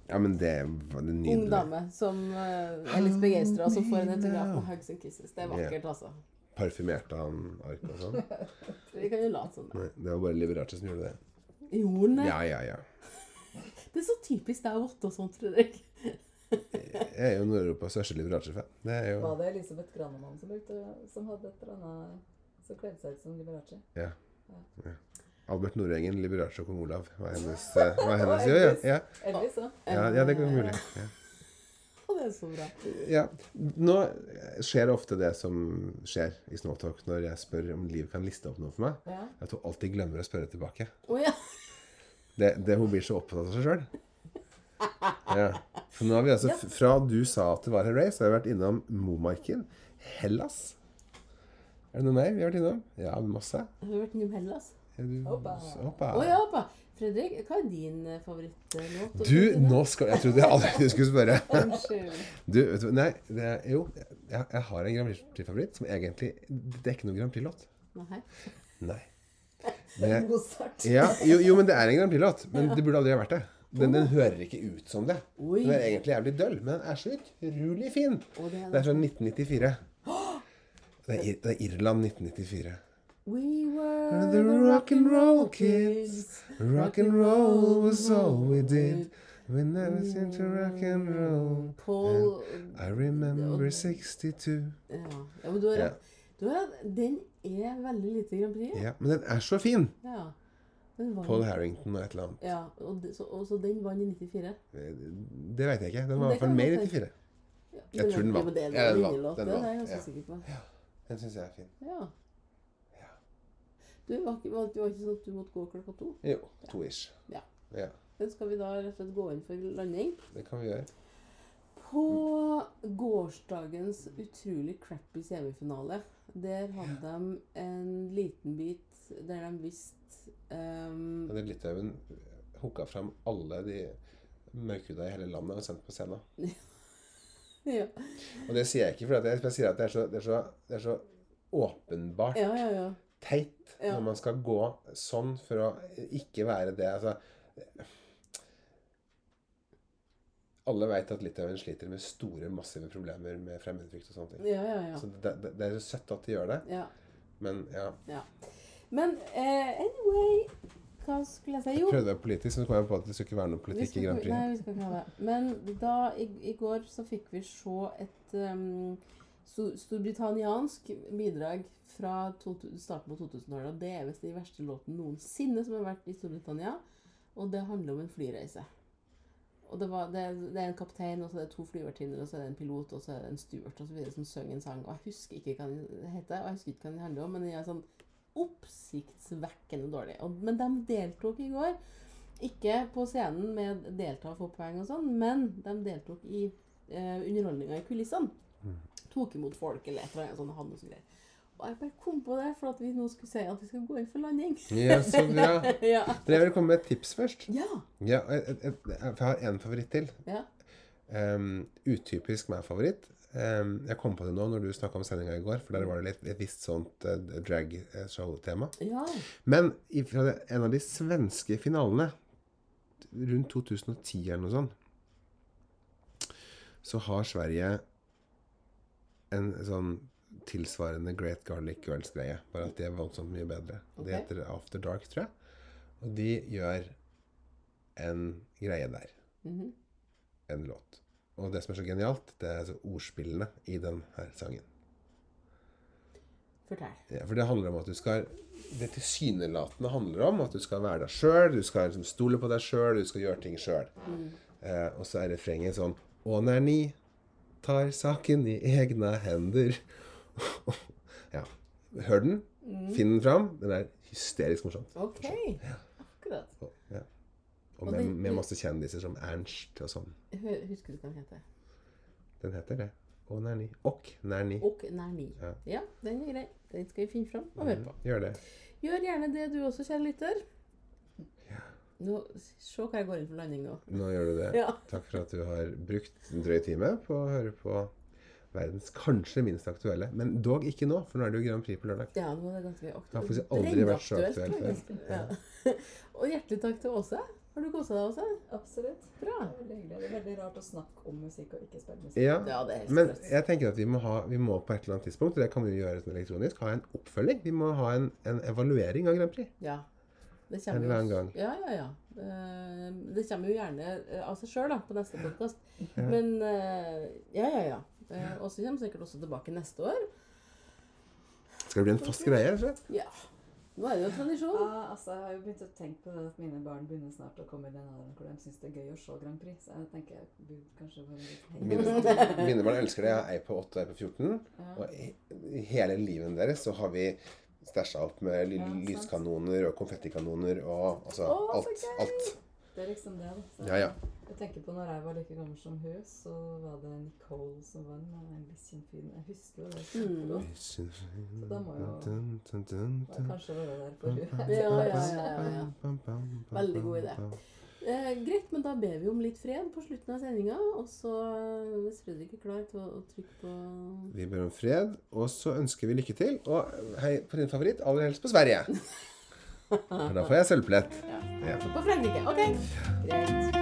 Ja, men det var det
ung
nydelig.
dame som eh, er litt begeistra, og så får en autograf på Hugs and Kisses. Det er vakkert, altså.
Parfymerte han arket og sånn?
Vi kan jo late som det.
Nei, det var bare Liberace som gjorde det.
Gjorde den det?
Ja, ja, ja.
Det er så typisk deg å rotte og sånt, Fredrik.
Jeg er jo Nord-Europas største Liberace-fan. Det er jo
Var det Elisabeth Granemann som, brukte, som hadde et eller annet som kledde seg ut som Liberace?
Ja. ja. Albert Nordengen, Liberace og kong Olav var hennes, eh, var hennes jo, ja. Ja.
Elvis, da.
Ja, ja, det kan være mulig. Ja.
Å, det er så bra.
Ja. Nå skjer ofte det som skjer i Snowtalk når jeg spør om Liv kan liste opp noe for meg.
Ja.
At hun alltid glemmer å spørre tilbake.
Å ja.
Det, det Hun blir så opptatt av seg sjøl. Ja. Så nå har vi altså, f- Fra du sa at det var her race, har vi vært innom Momarken, Hellas Er det noe mer vi har vært innom? Ja, masse.
Har du vært innom Hellas?
Ja, du-
Hoppa.
Hoppa.
Å ja, pappa. Fredrik, hva er din eh, favorittlåt?
Du, nå skal Jeg trodde jeg aldri du skulle spørre.
Unnskyld.
Du, vet du, nei, det, er- jo, jeg, jeg har en Grand Prix-favoritt som egentlig Det er ikke noen Grand Prix-låt.
Nei.
Nei. Men jeg,
Mozart.
ja, jo, jo, men det er en Grand Prix-låt. Men det burde aldri ha vært det. Den, den hører ikke ut som det.
Oi.
Den er egentlig jævlig døll, men den er så utrolig fin.
Å, det er
Det er fra 1994. Det er, Ir- det er Irland 1994.
We were
The rock and roll kids. Rock and roll was all we did. We never seemed to rock and roll.
Paul
I remember 62.
Ja, ja men du har
Ja.
rett. Du har rett. Den er veldig lite Grand Prix.
Ja, men den er så fin!
Ja. Den vant-
Paul Harrington og et eller annet. Eh,
Ja, og, det- så, og så den vant i 94.
Det veit jeg ikke. Den var i hvert
Det
fall
kan
med i
godt
94.
Ja,
Jeg tror den
ja,
vant.
men Det er
Ja,
en
den vant.
vinnerlåt,
Den
det er jeg
vant,
ganske
ja.
sikker på.
Den syns jeg er fin.
Ja. Du, var ikke, var, det var ikke sånn at du måtte gå klokka to?
Jo, to ish.
Ja.
Ja,
Den skal vi da rett og slett gå inn for landing.
Det kan vi gjøre.
På gårsdagens utrolig crappy semifinale, der hadde de en liten bit der de visste ehm,
Hadde Litauen hooka fram alle de mørkhuda i hele landet og sendt på scenen.
ja.
Og det sier jeg ikke fordi at jeg, jeg sier at det er så, det er så, det er så åpenbart
ja, ja, ja.
teit
Ja.
når man skal gå sånn for å ikke være det. Altså, alle veit at Litauen sliter med store, massive problemer med fremmedfrykt og sånne ting.
ja, ja, ja.
Så det, det, det er jo søtt at de gjør det,
ja.
men ja.
Men eh, anyway Hva skulle jeg si? Jo,
Prøvde å være politisk, men så kom jeg på at det skulle ikke være noe
Vi
politikk
skal
i Grand
ikke- Nei,
Prix.
vi skal ikke ha det. Men da, i, i går så fikk vi se et um, sto- storbritanniansk bidrag fra to, starten på 2000-tallet. Og det er visst den verste låten noensinne som har vært i Storbritannia. Og det handler om en flyreise. Og det, var, det, er- det er en kaptein, og så er det to flyvertinner, og så er det en pilot, og så er det en steward og så videre som synger en sang. Og jeg husker ikke hva den heter, og jeg husker ikke hva den handler om, men den er sånn oppsiktsvekkende dårlig. Og, men de deltok i går. Ikke på scenen med delta og få poeng og sånn, men de deltok i eh, underholdninga i kulissene.
Mm.
Tok imot folk eller et eller annet sånt. Hadde noe sånt greier. Og jeg bare kom på det, for at vi nå skulle si at vi skal gå inn for landing.
Ja, så bra.
ja.
Men jeg vil komme med et tips først.
Ja.
Ja, et, et, et, for jeg har en favoritt til.
ja.
Ehm, utypisk meg favoritt. Ehm, jeg kom på det nå når du snakka om sendinga i går, for der var det litt, et visst sånt eh, drag-show-tema.
ja.
Men i- fra det- en av de svenske finalene, rundt 2010 eller noe sånt, så har Sverige en sånn tilsvarende Great Garlic Girls-greie. Bare at de er voldsomt mye bedre.
Ok.
Det heter After Dark, tror jeg. Og de gjør en greie der.
Mhm.
En låt. Og det som er så genialt, det er altså ordspillene i den her sangen.
Fortell.
Ja, for det handler om at du skal Det tilsynelatende handler om at du skal være deg sjøl, du skal liksom stole på deg sjøl, du skal gjøre ting sjøl.
Mm.
Eh, og så er refrenget sånn Å, nær ni tar saken i egne hender. ja. Hør den.
Mm.
Finn den fram. Den er hysterisk morsom.
OK. Akkurat.
Og, ja. og
Og
med,
det-
med masse kjendiser som Ernst og sånn.
Hø- Husker du hva den heter?
Den heter det. Å, nær ni. Åk, nær ni.
Og nær ni.
Ja. Mm.
Ja, den er grei. Den skal vi finne fram og høre på.
Gjør det.
Gjør gjerne det du også, kjære lytter. Nå, se hva jeg går inn for landing nå.
Nå gjør du det.
Ja.
Takk for at du har brukt en drøy time på å høre på verdens kanskje minst aktuelle, men dog ikke nå, for nå er det jo Grand Prix på lørdag.
Ja, nå er det ganske aktuelt.
Det har faktisk aldri vært så aktuelt
Brennaktuelt, faktisk. Ja. Og hjertelig takk til Åse. Har du kosa deg, Åse?
Absolutt.
Bra.
Det er veldig hyggelig. Det er veldig rart å snakke om musikk og ikke spille musikk.
Ja,
Ja, det er helt
men
sprøtt.
jeg tenker at vi må, ha, vi må på et eller annet tidspunkt, og det kan vi jo gjøre uten elektronisk, ha en oppfølging. Vi må ha en, en evaluering av Grand Prix.
Ja. Det
En
kommer jo-
eller annen gang.
Ja, ja, ja. Eh, Det kommer jo gjerne eh, av seg sjøl på neste podkast. Men eh, ja, ja, ja. Eh, Åse kommer sikkert også tilbake neste år.
Skal det bli en fast greie? rett og slett?
Ja. Nå er det jo tradisjon.
Ja, altså, jeg har jo begynt å tenke på det at mine barn begynner snart å komme i den alderen hvor de syns det er gøy å se Grand Prix. Så jeg tenker jeg burde kanskje være litt hei.
Mine, mine barn elsker det. Jeg har ei på 8 og ei på 14.
Ja.
Og i i hele livet deres så har vi stæsja opp med ly
Ja, sant.
lyskanoner og konfettikanoner og altså
Å, så
alt. alt.
Det er liksom det, da. Så
Ja, ja.
Jeg tenker på når jeg var like gammel som hun, så var det Nicole som vann. Og en viss fin Jeg husker jo det
Mm.
kjempegodt. da må jo- Jeg Kanskje være der for hun.
Ja, ja, ja, ja, ja.
Veldig
Veldig god idé. Eh, greit, men da ber vi om litt fred på slutten av sendinga. Og så, eh, hvis Fredrik er klar til å, å trykke på
Vi ber om fred, og så ønsker vi lykke til. Og hei på din favoritt, aller helst på Sverige. For da får jeg sølvplett. Ja.
På Frankrike. OK. Greit.